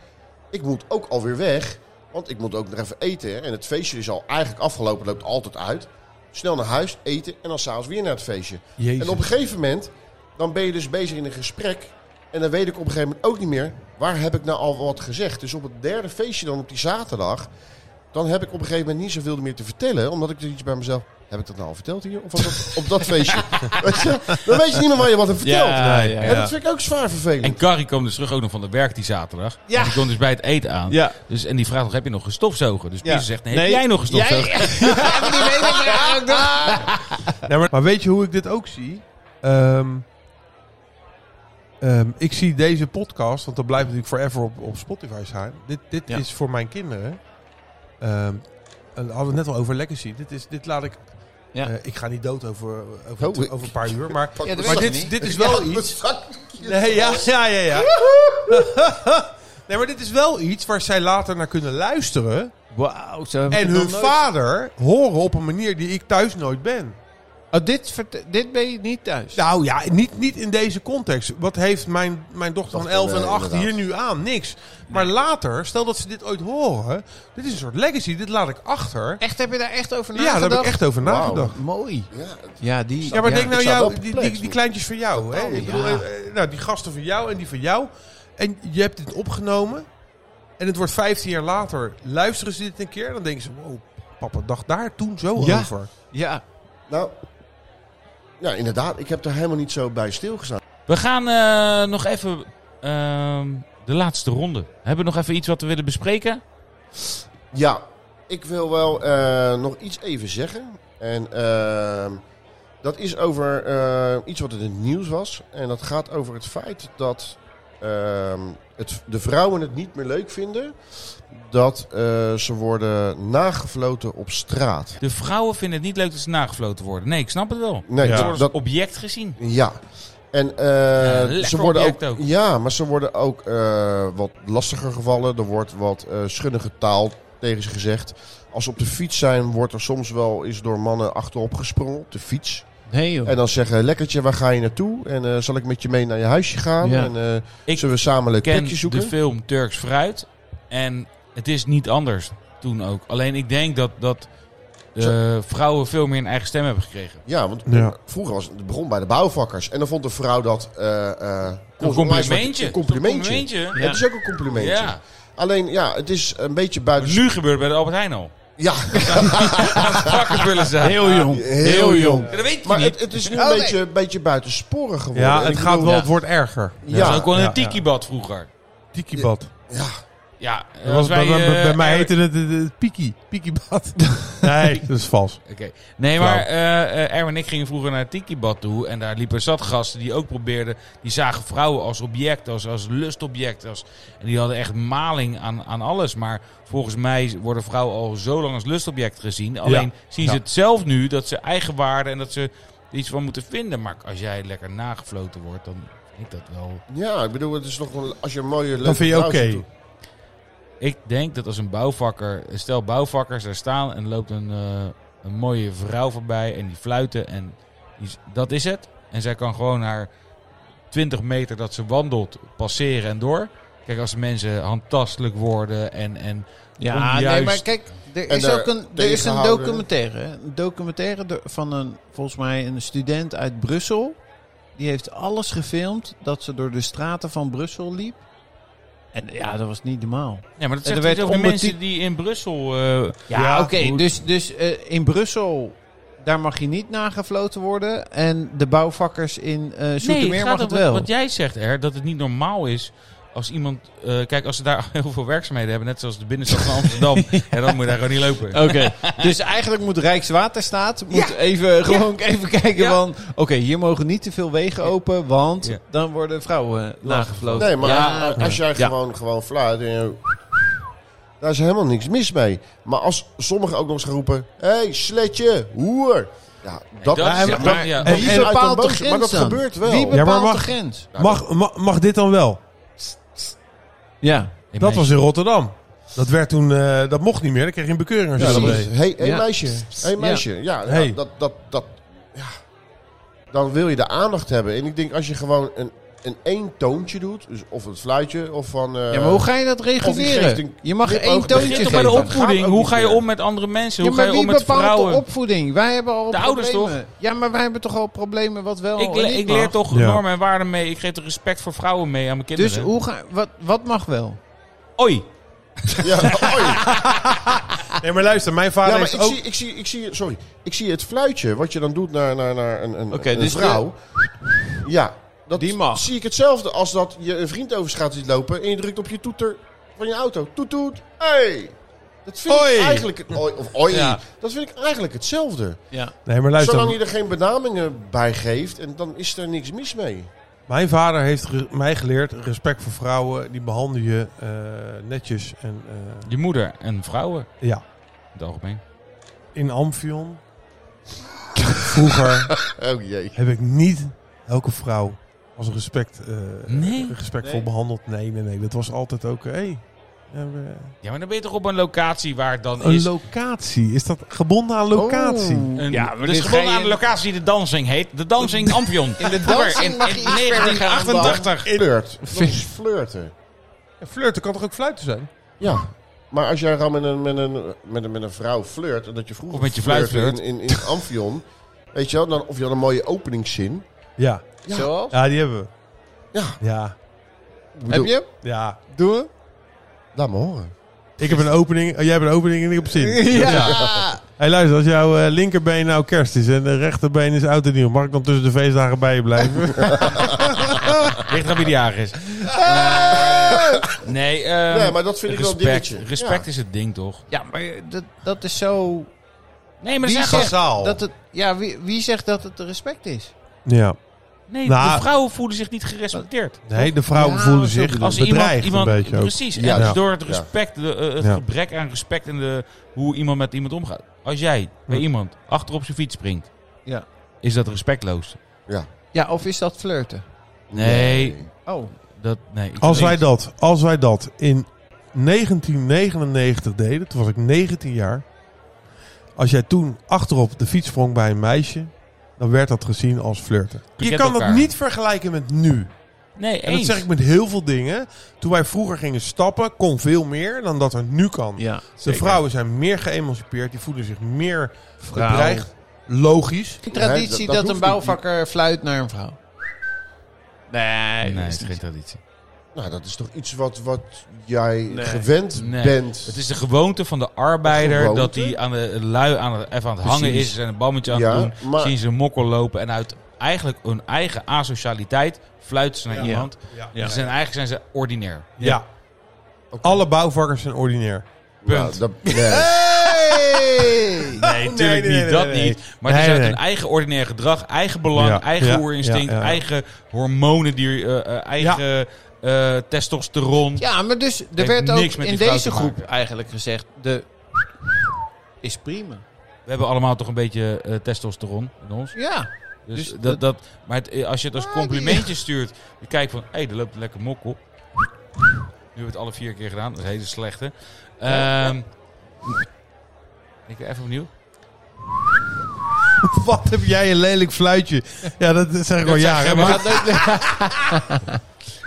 Speaker 1: ik moet ook alweer weg. Want ik moet ook nog even eten. hè. En het feestje is al eigenlijk afgelopen, loopt altijd uit. Snel naar huis, eten en dan s'avonds weer naar het feestje. En op een gegeven moment, dan ben je dus bezig in een gesprek. En dan weet ik op een gegeven moment ook niet meer, waar heb ik nou al wat gezegd? Dus op het derde feestje dan op die zaterdag, dan heb ik op een gegeven moment niet zoveel meer te vertellen. Omdat ik er iets bij mezelf, heb ik dat nou al verteld hier? Of was dat op dat feestje? weet je? Dan weet je niet meer waar je wat hebt verteld.
Speaker 3: Ja, ja,
Speaker 1: En dat vind ik ook zwaar vervelend.
Speaker 3: En Carrie kwam dus terug ook nog van de werk die zaterdag.
Speaker 5: Ja.
Speaker 3: En die komt dus bij het eten aan.
Speaker 5: Ja.
Speaker 3: Dus, en die vraagt nog, heb je nog gestofzogen? Dus
Speaker 5: Ja.
Speaker 3: Pieter zegt, nee,
Speaker 5: Nee.
Speaker 3: heb jij nog gestofzogen?
Speaker 4: Nee, maar, maar weet je hoe ik dit ook zie? Ehm, ehm, ik zie deze podcast, want dat blijft natuurlijk forever op, op Spotify staan. Dit, dit
Speaker 5: Ja.
Speaker 4: is voor mijn kinderen. Ehm, en we hadden het net al over legacy. Dit, is, dit laat ik...
Speaker 5: Ja.
Speaker 4: eh, ik ga niet dood over, over,
Speaker 1: Oh.
Speaker 4: over een paar uur, maar,
Speaker 1: Pak-
Speaker 5: Ja, dat
Speaker 4: maar
Speaker 5: weet ik
Speaker 4: dit,
Speaker 5: niet.
Speaker 4: dit is wel
Speaker 1: Ja,
Speaker 4: iets...
Speaker 1: dat-
Speaker 4: Nee, ja, ja, ja, ja. nee, maar dit is wel iets waar zij later naar kunnen luisteren.
Speaker 5: Wauw.
Speaker 4: En hun vader horen op een manier die ik thuis nooit ben.
Speaker 5: Oh, dit, vert- dit ben je niet thuis.
Speaker 4: Nou ja, niet, niet in deze context. Wat heeft mijn, mijn dochter van
Speaker 1: Dochter,
Speaker 4: 11 en
Speaker 1: eh,
Speaker 4: 8 hier
Speaker 1: inderdaad.
Speaker 4: nu aan? Niks. Maar later, stel dat ze dit ooit horen. Dit is een soort legacy, dit laat ik achter.
Speaker 5: Echt, heb je daar echt over
Speaker 4: Ja,
Speaker 5: nagedacht?
Speaker 4: daar heb ik echt over
Speaker 1: Wauw.
Speaker 4: nagedacht.
Speaker 5: Mooi.
Speaker 1: Ja,
Speaker 5: Ja, die...
Speaker 4: Ja, maar denk nou
Speaker 1: ik zou
Speaker 4: jou,
Speaker 1: wel
Speaker 4: die, die,
Speaker 1: perplex
Speaker 4: die
Speaker 1: worden.
Speaker 4: kleintjes van jou. Hè?
Speaker 1: Totaal
Speaker 4: Ik
Speaker 1: niet.
Speaker 4: bedoel, eh, eh, nou, die gasten van jou en die van jou. En je hebt dit opgenomen. En het wordt 15 jaar later. Luisteren ze dit een keer? Dan denken ze, wow, papa dacht daar toen zo
Speaker 5: Ja.
Speaker 4: over.
Speaker 5: Ja.
Speaker 1: nou, ja, inderdaad, ik heb er helemaal niet zo bij stilgestaan.
Speaker 3: We gaan eh, nog even ehm, de laatste ronde. Hebben we nog even iets wat we willen bespreken?
Speaker 1: Ja, ik wil wel eh, nog iets even zeggen. En ehm, dat is over eh, iets wat in het nieuws was. En dat gaat over het feit dat ehm, het, de vrouwen het niet meer leuk vinden dat eh, ze worden nagefloten op straat.
Speaker 3: De vrouwen vinden het niet leuk dat ze nagefloten worden. Nee, ik snap het wel.
Speaker 1: Nee,
Speaker 4: Ja.
Speaker 1: dat-
Speaker 3: Ze worden als
Speaker 1: dat,
Speaker 3: object gezien.
Speaker 1: Ja. En eh,
Speaker 3: lekker
Speaker 1: ze worden ook,
Speaker 3: object ook.
Speaker 1: Ja, maar ze worden ook eh, wat lastiger gevallen. Er wordt wat eh, schunnige taal tegen ze gezegd. Als ze op de fiets zijn, wordt er soms wel eens door mannen achterop gesprongen op de fiets.
Speaker 5: Nee, joh.
Speaker 1: En dan zeggen, lekkertje, waar ga je naartoe? En eh, zal ik met je mee naar je huisje gaan?
Speaker 5: Ja.
Speaker 1: En eh,
Speaker 3: Ik
Speaker 1: zullen we samen een leuk
Speaker 3: ken
Speaker 1: plekje
Speaker 3: de
Speaker 1: zoeken?
Speaker 3: film Turks Fruit. En het is niet anders toen ook. Alleen ik denk dat, dat eh, vrouwen veel meer een eigen stem hebben gekregen.
Speaker 1: Ja, want
Speaker 4: Ja.
Speaker 1: vroeger was het begon bij de bouwvakkers. En dan vond de vrouw dat... eh, eh,
Speaker 3: Een complimentje.
Speaker 1: Een complimentje.
Speaker 3: complimentje.
Speaker 1: Het is ook een complimentje.
Speaker 3: Ja.
Speaker 1: Alleen ja, het is een beetje buiten...
Speaker 3: Nu gebeurt het bij de Albert Heijn al.
Speaker 1: Ja,
Speaker 3: Pakken willen ze. Ah, Heel jong.
Speaker 1: Heel jong.
Speaker 3: Dat weet je
Speaker 1: Maar
Speaker 3: niet.
Speaker 1: het, het is nu
Speaker 5: Oh,
Speaker 1: een
Speaker 5: nee.
Speaker 1: beetje, beetje buitensporig geworden.
Speaker 4: Ja,
Speaker 1: En
Speaker 4: het
Speaker 1: ik
Speaker 4: gaat
Speaker 1: bedoel-
Speaker 4: wel, het wordt erger.
Speaker 1: Ja,
Speaker 3: Dat was ook wel in
Speaker 4: Ja,
Speaker 3: een tiki-bad vroeger.
Speaker 4: Tikibad.
Speaker 1: ja.
Speaker 3: Ja, Ja,
Speaker 4: Dat
Speaker 3: als
Speaker 4: was-
Speaker 3: wij,
Speaker 4: bij, bij- bij
Speaker 3: eh,
Speaker 4: mij
Speaker 3: er-
Speaker 4: heette het, het, het Piki. Pikibad. nee, dat is vals.
Speaker 3: Oké. Nee, maar eh, eh, Erwin en ik gingen vroeger naar het Tiki-bad toe. En daar liepen zat gasten die ook probeerden. Die zagen vrouwen als object, als, als lustobject. Als, en die hadden echt maling aan, aan alles. Maar volgens mij worden vrouwen al zo lang als lustobject gezien. Alleen zien ze
Speaker 4: Ja.
Speaker 3: het zelf nu dat ze eigen waarde en dat ze er iets van moeten vinden. Maar als jij lekker nagefloten wordt, dan vind ik dat wel.
Speaker 1: Ja, ik bedoel, het is nog wel, als je een mooie leuke
Speaker 4: Dan vind je
Speaker 1: vrouw
Speaker 4: oké.
Speaker 1: ziet doen.
Speaker 3: Ik denk dat als een bouwvakker, stel bouwvakkers daar staan en er loopt een, eh, een mooie vrouw voorbij en die fluiten en die, z- dat is het. En zij kan gewoon haar 20 meter dat ze wandelt passeren en door. Kijk, als de mensen handtastelijk worden en, en
Speaker 5: Ja, nee,
Speaker 3: Onjuist.
Speaker 5: maar kijk, er
Speaker 1: En
Speaker 5: is
Speaker 1: daar
Speaker 5: ook een, er is een
Speaker 1: tegenhouden.
Speaker 5: documentaire. hè. Een documentaire do- van een, volgens mij, een student uit Brussel. Die heeft alles gefilmd dat ze door de straten van Brussel liep. En ja, dat was niet normaal.
Speaker 3: ja, maar dat
Speaker 5: En
Speaker 3: zegt
Speaker 5: er werd
Speaker 3: iets over de
Speaker 5: onder-
Speaker 3: mensen die in Brussel... eh,
Speaker 5: Ja,
Speaker 4: Ja,
Speaker 5: oké.
Speaker 4: goed.
Speaker 5: Dus, dus eh, in Brussel, daar mag je niet nagefloten worden. En de bouwvakkers in eh Zoetermeer
Speaker 3: het
Speaker 5: mag
Speaker 3: gaat
Speaker 5: het
Speaker 3: om wat-
Speaker 5: wel.
Speaker 3: Wat jij zegt, Er, dat het niet normaal is als iemand... eh, kijk, als ze daar heel veel werkzaamheden hebben, net zoals de binnenstad van Amsterdam, ja, dan moet je daar gewoon niet lopen.
Speaker 5: Oké, dus eigenlijk moet Rijkswaterstaat moet even, gewoon even kijken
Speaker 3: Ja.
Speaker 5: van... Oké, hier mogen niet te veel wegen open, want
Speaker 3: Ja.
Speaker 5: dan worden vrouwen eh, nagefloten.
Speaker 1: Nee, maar eh,
Speaker 5: Ja,
Speaker 1: als- als jij
Speaker 5: Ja.
Speaker 1: gewoon, gewoon fluit en je- Daar is helemaal niks mis mee. Maar als sommigen ook nog eens gaan roepen... Hé, hey, sletje, hoer. Ja, dat,
Speaker 3: dat is-
Speaker 1: dat-
Speaker 3: maar- ja.
Speaker 1: dat-
Speaker 5: Wie
Speaker 1: uit een
Speaker 5: bepaalt de
Speaker 1: boze-
Speaker 5: grens
Speaker 1: Maar dat
Speaker 5: dan?
Speaker 1: gebeurt wel.
Speaker 5: Wie bepaalt
Speaker 4: mag-
Speaker 5: de grens?
Speaker 4: Mag, mag, mag dit dan wel?
Speaker 5: Ja.
Speaker 3: Hey,
Speaker 4: Dat
Speaker 3: meisje,
Speaker 4: was in Rotterdam. Dat werd toen, eh, dat mocht niet meer. Dan kreeg je een bekeuring als je
Speaker 1: Ja,
Speaker 4: dat
Speaker 1: dat
Speaker 4: deed.
Speaker 1: is- hey, hey,
Speaker 5: Ja.
Speaker 1: meisje. Hey,
Speaker 5: Ja.
Speaker 1: meisje. Ja, ja,
Speaker 4: Hey.
Speaker 1: dat... dat, dat ja. Dan wil je de aandacht hebben. En ik denk, als je gewoon een, een één toontje doet... Dus of het fluitje, of van... eh,
Speaker 5: ja, maar hoe ga je dat
Speaker 1: geeft
Speaker 5: reguleren?
Speaker 1: een
Speaker 5: je mag
Speaker 1: knip
Speaker 5: één
Speaker 1: over de
Speaker 5: toontje
Speaker 1: grens.
Speaker 3: Begint toch
Speaker 5: geven.
Speaker 3: bij de
Speaker 1: geven. Dat
Speaker 3: opvoeding.
Speaker 1: gaat ook
Speaker 3: Hoe
Speaker 1: niet
Speaker 3: ga je
Speaker 1: meer.
Speaker 3: om met andere mensen?
Speaker 5: Ja,
Speaker 3: Hoe
Speaker 5: maar
Speaker 3: ga je
Speaker 5: wie
Speaker 3: om met
Speaker 5: bepaalt
Speaker 3: vrouwen?
Speaker 5: de opvoeding? Wij hebben al
Speaker 3: De ouders
Speaker 5: problemen. Ja, maar wij hebben toch al problemen wat wel
Speaker 3: Ik,
Speaker 5: en
Speaker 3: le-
Speaker 5: niet
Speaker 3: ik
Speaker 5: mag?
Speaker 3: leer toch
Speaker 4: Ja.
Speaker 3: normen en waarden mee. Ik geef er respect voor vrouwen mee aan mijn kinderen.
Speaker 5: Dus hoe ga, wat, wat mag wel?
Speaker 3: Oei.
Speaker 1: Ja, oei.
Speaker 4: Nee, maar luister, mijn vader
Speaker 1: Ja, maar
Speaker 4: heeft
Speaker 1: ik,
Speaker 4: ook...
Speaker 1: zie, ik, zie, ik, zie, sorry, ik zie het fluitje wat je dan doet naar, naar, naar een, een,
Speaker 5: Oké,
Speaker 1: een
Speaker 5: dus
Speaker 1: vrouw. Ja, dat
Speaker 5: Die mag.
Speaker 1: zie ik hetzelfde als dat je een vriend over straat ziet lopen... en je drukt op je toeter van je auto. Toet, toet, hey. Dat vind
Speaker 4: Oi.
Speaker 1: ik eigenlijk... het- Oi, of oi.
Speaker 5: Ja.
Speaker 1: Dat vind ik eigenlijk hetzelfde.
Speaker 5: Ja.
Speaker 4: Nee, maar luister.
Speaker 1: Zolang je er geen benamingen bij geeft, en dan is er niks mis mee.
Speaker 4: Mijn vader heeft ge- mij geleerd respect voor vrouwen. Die behandel je eh, netjes. En, eh,
Speaker 3: Je moeder en vrouwen
Speaker 4: ja,
Speaker 3: in het algemeen.
Speaker 4: in Amphion. Vroeger
Speaker 1: Oh jee.
Speaker 4: heb ik niet elke vrouw als respect, eh,
Speaker 3: Nee.
Speaker 4: respectvol
Speaker 5: Nee.
Speaker 4: behandeld. Nee, nee, nee. Dat was altijd ook... Hey, we hebben
Speaker 3: Ja, maar dan ben je toch op een locatie waar het dan
Speaker 4: een
Speaker 3: is.
Speaker 4: locatie. Is dat gebonden aan locatie?
Speaker 3: een-
Speaker 5: Ja, maar
Speaker 3: dus
Speaker 5: dit
Speaker 3: gewoon
Speaker 5: ga je-
Speaker 3: aan de locatie die de dansing heet. De dansing Ampion.
Speaker 5: In de
Speaker 3: Vroeger
Speaker 5: dansing mag je iets verder gaan dan-
Speaker 3: 1988.
Speaker 1: Flirt. Dat is flirten.
Speaker 4: Ja, flirten kan toch ook fluiten zijn?
Speaker 1: Ja. Maar als jij gewoon met een, met, een, met, een, met een vrouw flirt, en dat je vroeger
Speaker 3: Of met je
Speaker 1: flirtte
Speaker 3: fluit
Speaker 1: in, in, in het Amphion, weet je wel, dan, of je had een mooie openingszin.
Speaker 4: Ja.
Speaker 1: Ja.
Speaker 5: Zoals?
Speaker 4: Ja, die hebben we.
Speaker 1: Ja.
Speaker 4: Ja.
Speaker 5: Heb je hem?
Speaker 4: Ja.
Speaker 5: Doe hem.
Speaker 1: Laat me horen.
Speaker 4: Ik heb een opening, oh, jij hebt een opening en ik heb zin.
Speaker 5: Ja.
Speaker 4: Hey, luister, als jouw eh, linkerbeen nou kerst is en de rechterbeen is oud en nieuw, mag ik dan tussen de feestdagen bij je blijven?
Speaker 3: Ligt aan wie die jarig is. Nee, ehm,
Speaker 1: Nee, maar dat vind ik wel een
Speaker 3: respect.
Speaker 1: dingetje.
Speaker 3: Respect
Speaker 1: Ja.
Speaker 3: is het ding, toch?
Speaker 5: Ja, maar dat, dat is zo...
Speaker 3: Nee, maar
Speaker 5: Wie
Speaker 3: zeg
Speaker 5: zegt
Speaker 4: Gazaal.
Speaker 5: dat het... Ja, wie, wie zegt dat het respect is?
Speaker 4: ja.
Speaker 3: Nee,
Speaker 4: Nou-
Speaker 3: de vrouwen voelen zich niet gerespecteerd.
Speaker 4: Nee, de vrouwen
Speaker 5: Ja,
Speaker 4: voelen
Speaker 5: zo
Speaker 4: zich
Speaker 5: bedoel
Speaker 3: Als
Speaker 4: als
Speaker 3: er iemand,
Speaker 4: bedreigd
Speaker 3: iemand
Speaker 4: een beetje ook.
Speaker 3: precies.
Speaker 1: Ja.
Speaker 3: en dus
Speaker 4: Ja.
Speaker 3: door het
Speaker 1: Ja.
Speaker 3: respect, de, eh, het
Speaker 4: Ja.
Speaker 3: gebrek aan respect en de, hoe iemand met iemand omgaat. Als jij bij
Speaker 4: Ja.
Speaker 3: iemand achterop zijn fiets springt,
Speaker 5: Ja.
Speaker 3: is dat respectloos?
Speaker 5: Ja, of is dat flirten?
Speaker 3: Nee,
Speaker 5: Oh.
Speaker 3: dat nee. ik
Speaker 4: Als
Speaker 3: weet-
Speaker 4: wij dat, als wij dat in 1999 deden, toen was ik 19 jaar. Als jij toen achterop de fiets sprong bij een meisje, dan werd dat gezien als flirten. Je
Speaker 3: Kent
Speaker 4: kan dat
Speaker 3: elkaar.
Speaker 4: niet vergelijken met nu.
Speaker 3: Nee,
Speaker 4: En dat
Speaker 3: eens.
Speaker 4: zeg ik met heel veel dingen. Toen wij vroeger gingen stappen, kon veel meer dan dat er nu kan.
Speaker 5: Ja.
Speaker 4: De vrouwen zijn meer geëmancipeerd, die voelen zich meer bedreigd. Logisch.
Speaker 5: Geen
Speaker 1: Nee, dat-
Speaker 5: traditie dat,
Speaker 1: dat hoeft
Speaker 5: een bouwvakker fluit naar een vrouw. Nee,
Speaker 3: Nee,
Speaker 5: dat
Speaker 3: het
Speaker 5: is
Speaker 3: is geen
Speaker 5: niet.
Speaker 3: traditie.
Speaker 1: Nou, dat is toch iets wat, wat jij
Speaker 5: Nee.
Speaker 1: gewend
Speaker 3: Nee.
Speaker 1: bent.
Speaker 3: Het is de gewoonte van de arbeider
Speaker 1: Gewoonte?
Speaker 3: dat hij aan de lui aan het, even aan het hangen
Speaker 1: Precies.
Speaker 3: is en een bammetje aan
Speaker 1: Ja,
Speaker 3: het doen.
Speaker 1: maar-
Speaker 3: Zien ze een mokkel lopen en uit eigenlijk hun eigen asocialiteit fluiten ze naar
Speaker 5: Ja.
Speaker 3: iemand.
Speaker 4: Ja.
Speaker 3: Ze zijn eigenlijk zijn ze ordinair.
Speaker 4: Ja.
Speaker 1: Oké,
Speaker 4: Alle bouwvakkers zijn ordinair.
Speaker 1: Nou,
Speaker 3: Punt.
Speaker 1: dat, nee.
Speaker 4: Hey!
Speaker 3: Nee, natuurlijk
Speaker 4: nee,
Speaker 3: niet.
Speaker 4: nee,
Speaker 3: dat
Speaker 4: nee, nee.
Speaker 3: niet. Maar het
Speaker 4: Nee,
Speaker 3: is uit
Speaker 4: nee.
Speaker 3: hun eigen ordinair gedrag, eigen belang,
Speaker 4: Ja,
Speaker 3: eigen
Speaker 4: ja,
Speaker 3: oerinstinct,
Speaker 4: ja, ja.
Speaker 3: eigen hormonen, die, eh, eh, eigen eh, testosteron.
Speaker 5: Ja, maar dus er
Speaker 3: Heeft
Speaker 5: werd ook
Speaker 3: niks met
Speaker 5: in
Speaker 3: die vrouw
Speaker 5: deze
Speaker 3: te
Speaker 5: groep
Speaker 3: maken.
Speaker 5: eigenlijk gezegd... de is prima.
Speaker 3: We hebben allemaal toch een beetje eh, testosteron in ons.
Speaker 5: Ja,
Speaker 3: Dus,
Speaker 5: Dus
Speaker 3: dat,
Speaker 5: dat-
Speaker 3: dat, maar het, eh, als je het als complimentje stuurt, je kijkt van, hé, hey, er loopt een lekker mok op. Nu hebben we het alle vier keer gedaan, dat is een hele slechte. Ehm ik even opnieuw.
Speaker 4: Wat heb jij een lelijk fluitje? Ja, dat zeg ik al jaren. Maar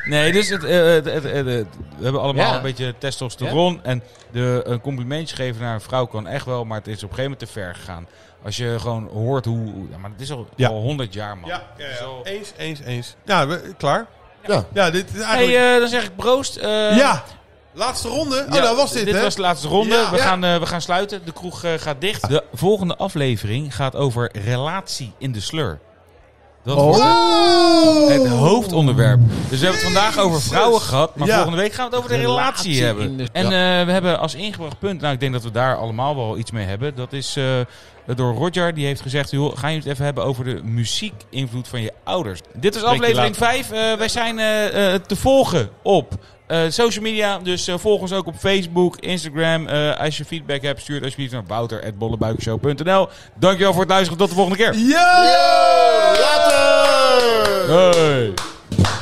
Speaker 3: Nee, dus het, eh, het- het- het- het- we hebben allemaal
Speaker 5: Ja.
Speaker 3: een beetje testosteron. En de, een complimentje geven naar een vrouw kan echt wel, maar het is op een gegeven moment te ver gegaan. Als je gewoon hoort hoe... hoe- Ja, maar het is al,
Speaker 4: Ja.
Speaker 3: al 100 jaar, man.
Speaker 4: Ja, ja, ja.
Speaker 3: Het is al-
Speaker 4: Eens, eens, eens. Ja, we- klaar.
Speaker 1: Ja.
Speaker 4: Ja, dit is
Speaker 3: Hey,
Speaker 4: eigenlijk...
Speaker 3: eh, dan zeg ik proost. eh,
Speaker 4: ja, laatste ronde. Oh,
Speaker 3: Ja,
Speaker 4: dat was dit,
Speaker 3: Dit
Speaker 4: hè?
Speaker 3: was de laatste ronde.
Speaker 4: Ja.
Speaker 3: we,
Speaker 4: Ja.
Speaker 3: Gaan, eh, we gaan sluiten. De kroeg eh, gaat dicht. De volgende aflevering gaat over relatie in de slur. Dat
Speaker 4: Oh.
Speaker 3: wordt
Speaker 4: Oeh!
Speaker 3: het hoofdonderwerp. Dus we hebben het vandaag over vrouwen gehad. Maar
Speaker 4: Ja.
Speaker 3: volgende week gaan we het over de relatie,
Speaker 5: Relatie
Speaker 3: hebben.
Speaker 5: in de-
Speaker 3: En
Speaker 5: Ja.
Speaker 3: eh, we hebben als ingebracht punt... Nou, ik denk dat we daar allemaal wel iets mee hebben. Dat is eh, door Roger. Die heeft gezegd... Joh, gaan jullie het even hebben over de muziekinvloed van je ouders. Dit is aflevering 5. Eh, wij zijn eh, eh, te volgen op... eh, social media, dus eh, volg ons ook op Facebook, Instagram. Eh, als je feedback hebt, stuur het alsjeblieft naar wouter.bollebuikshow.nl. Dankjewel voor het luisteren, tot de volgende keer.
Speaker 4: Ja!
Speaker 1: Later!
Speaker 3: Hey.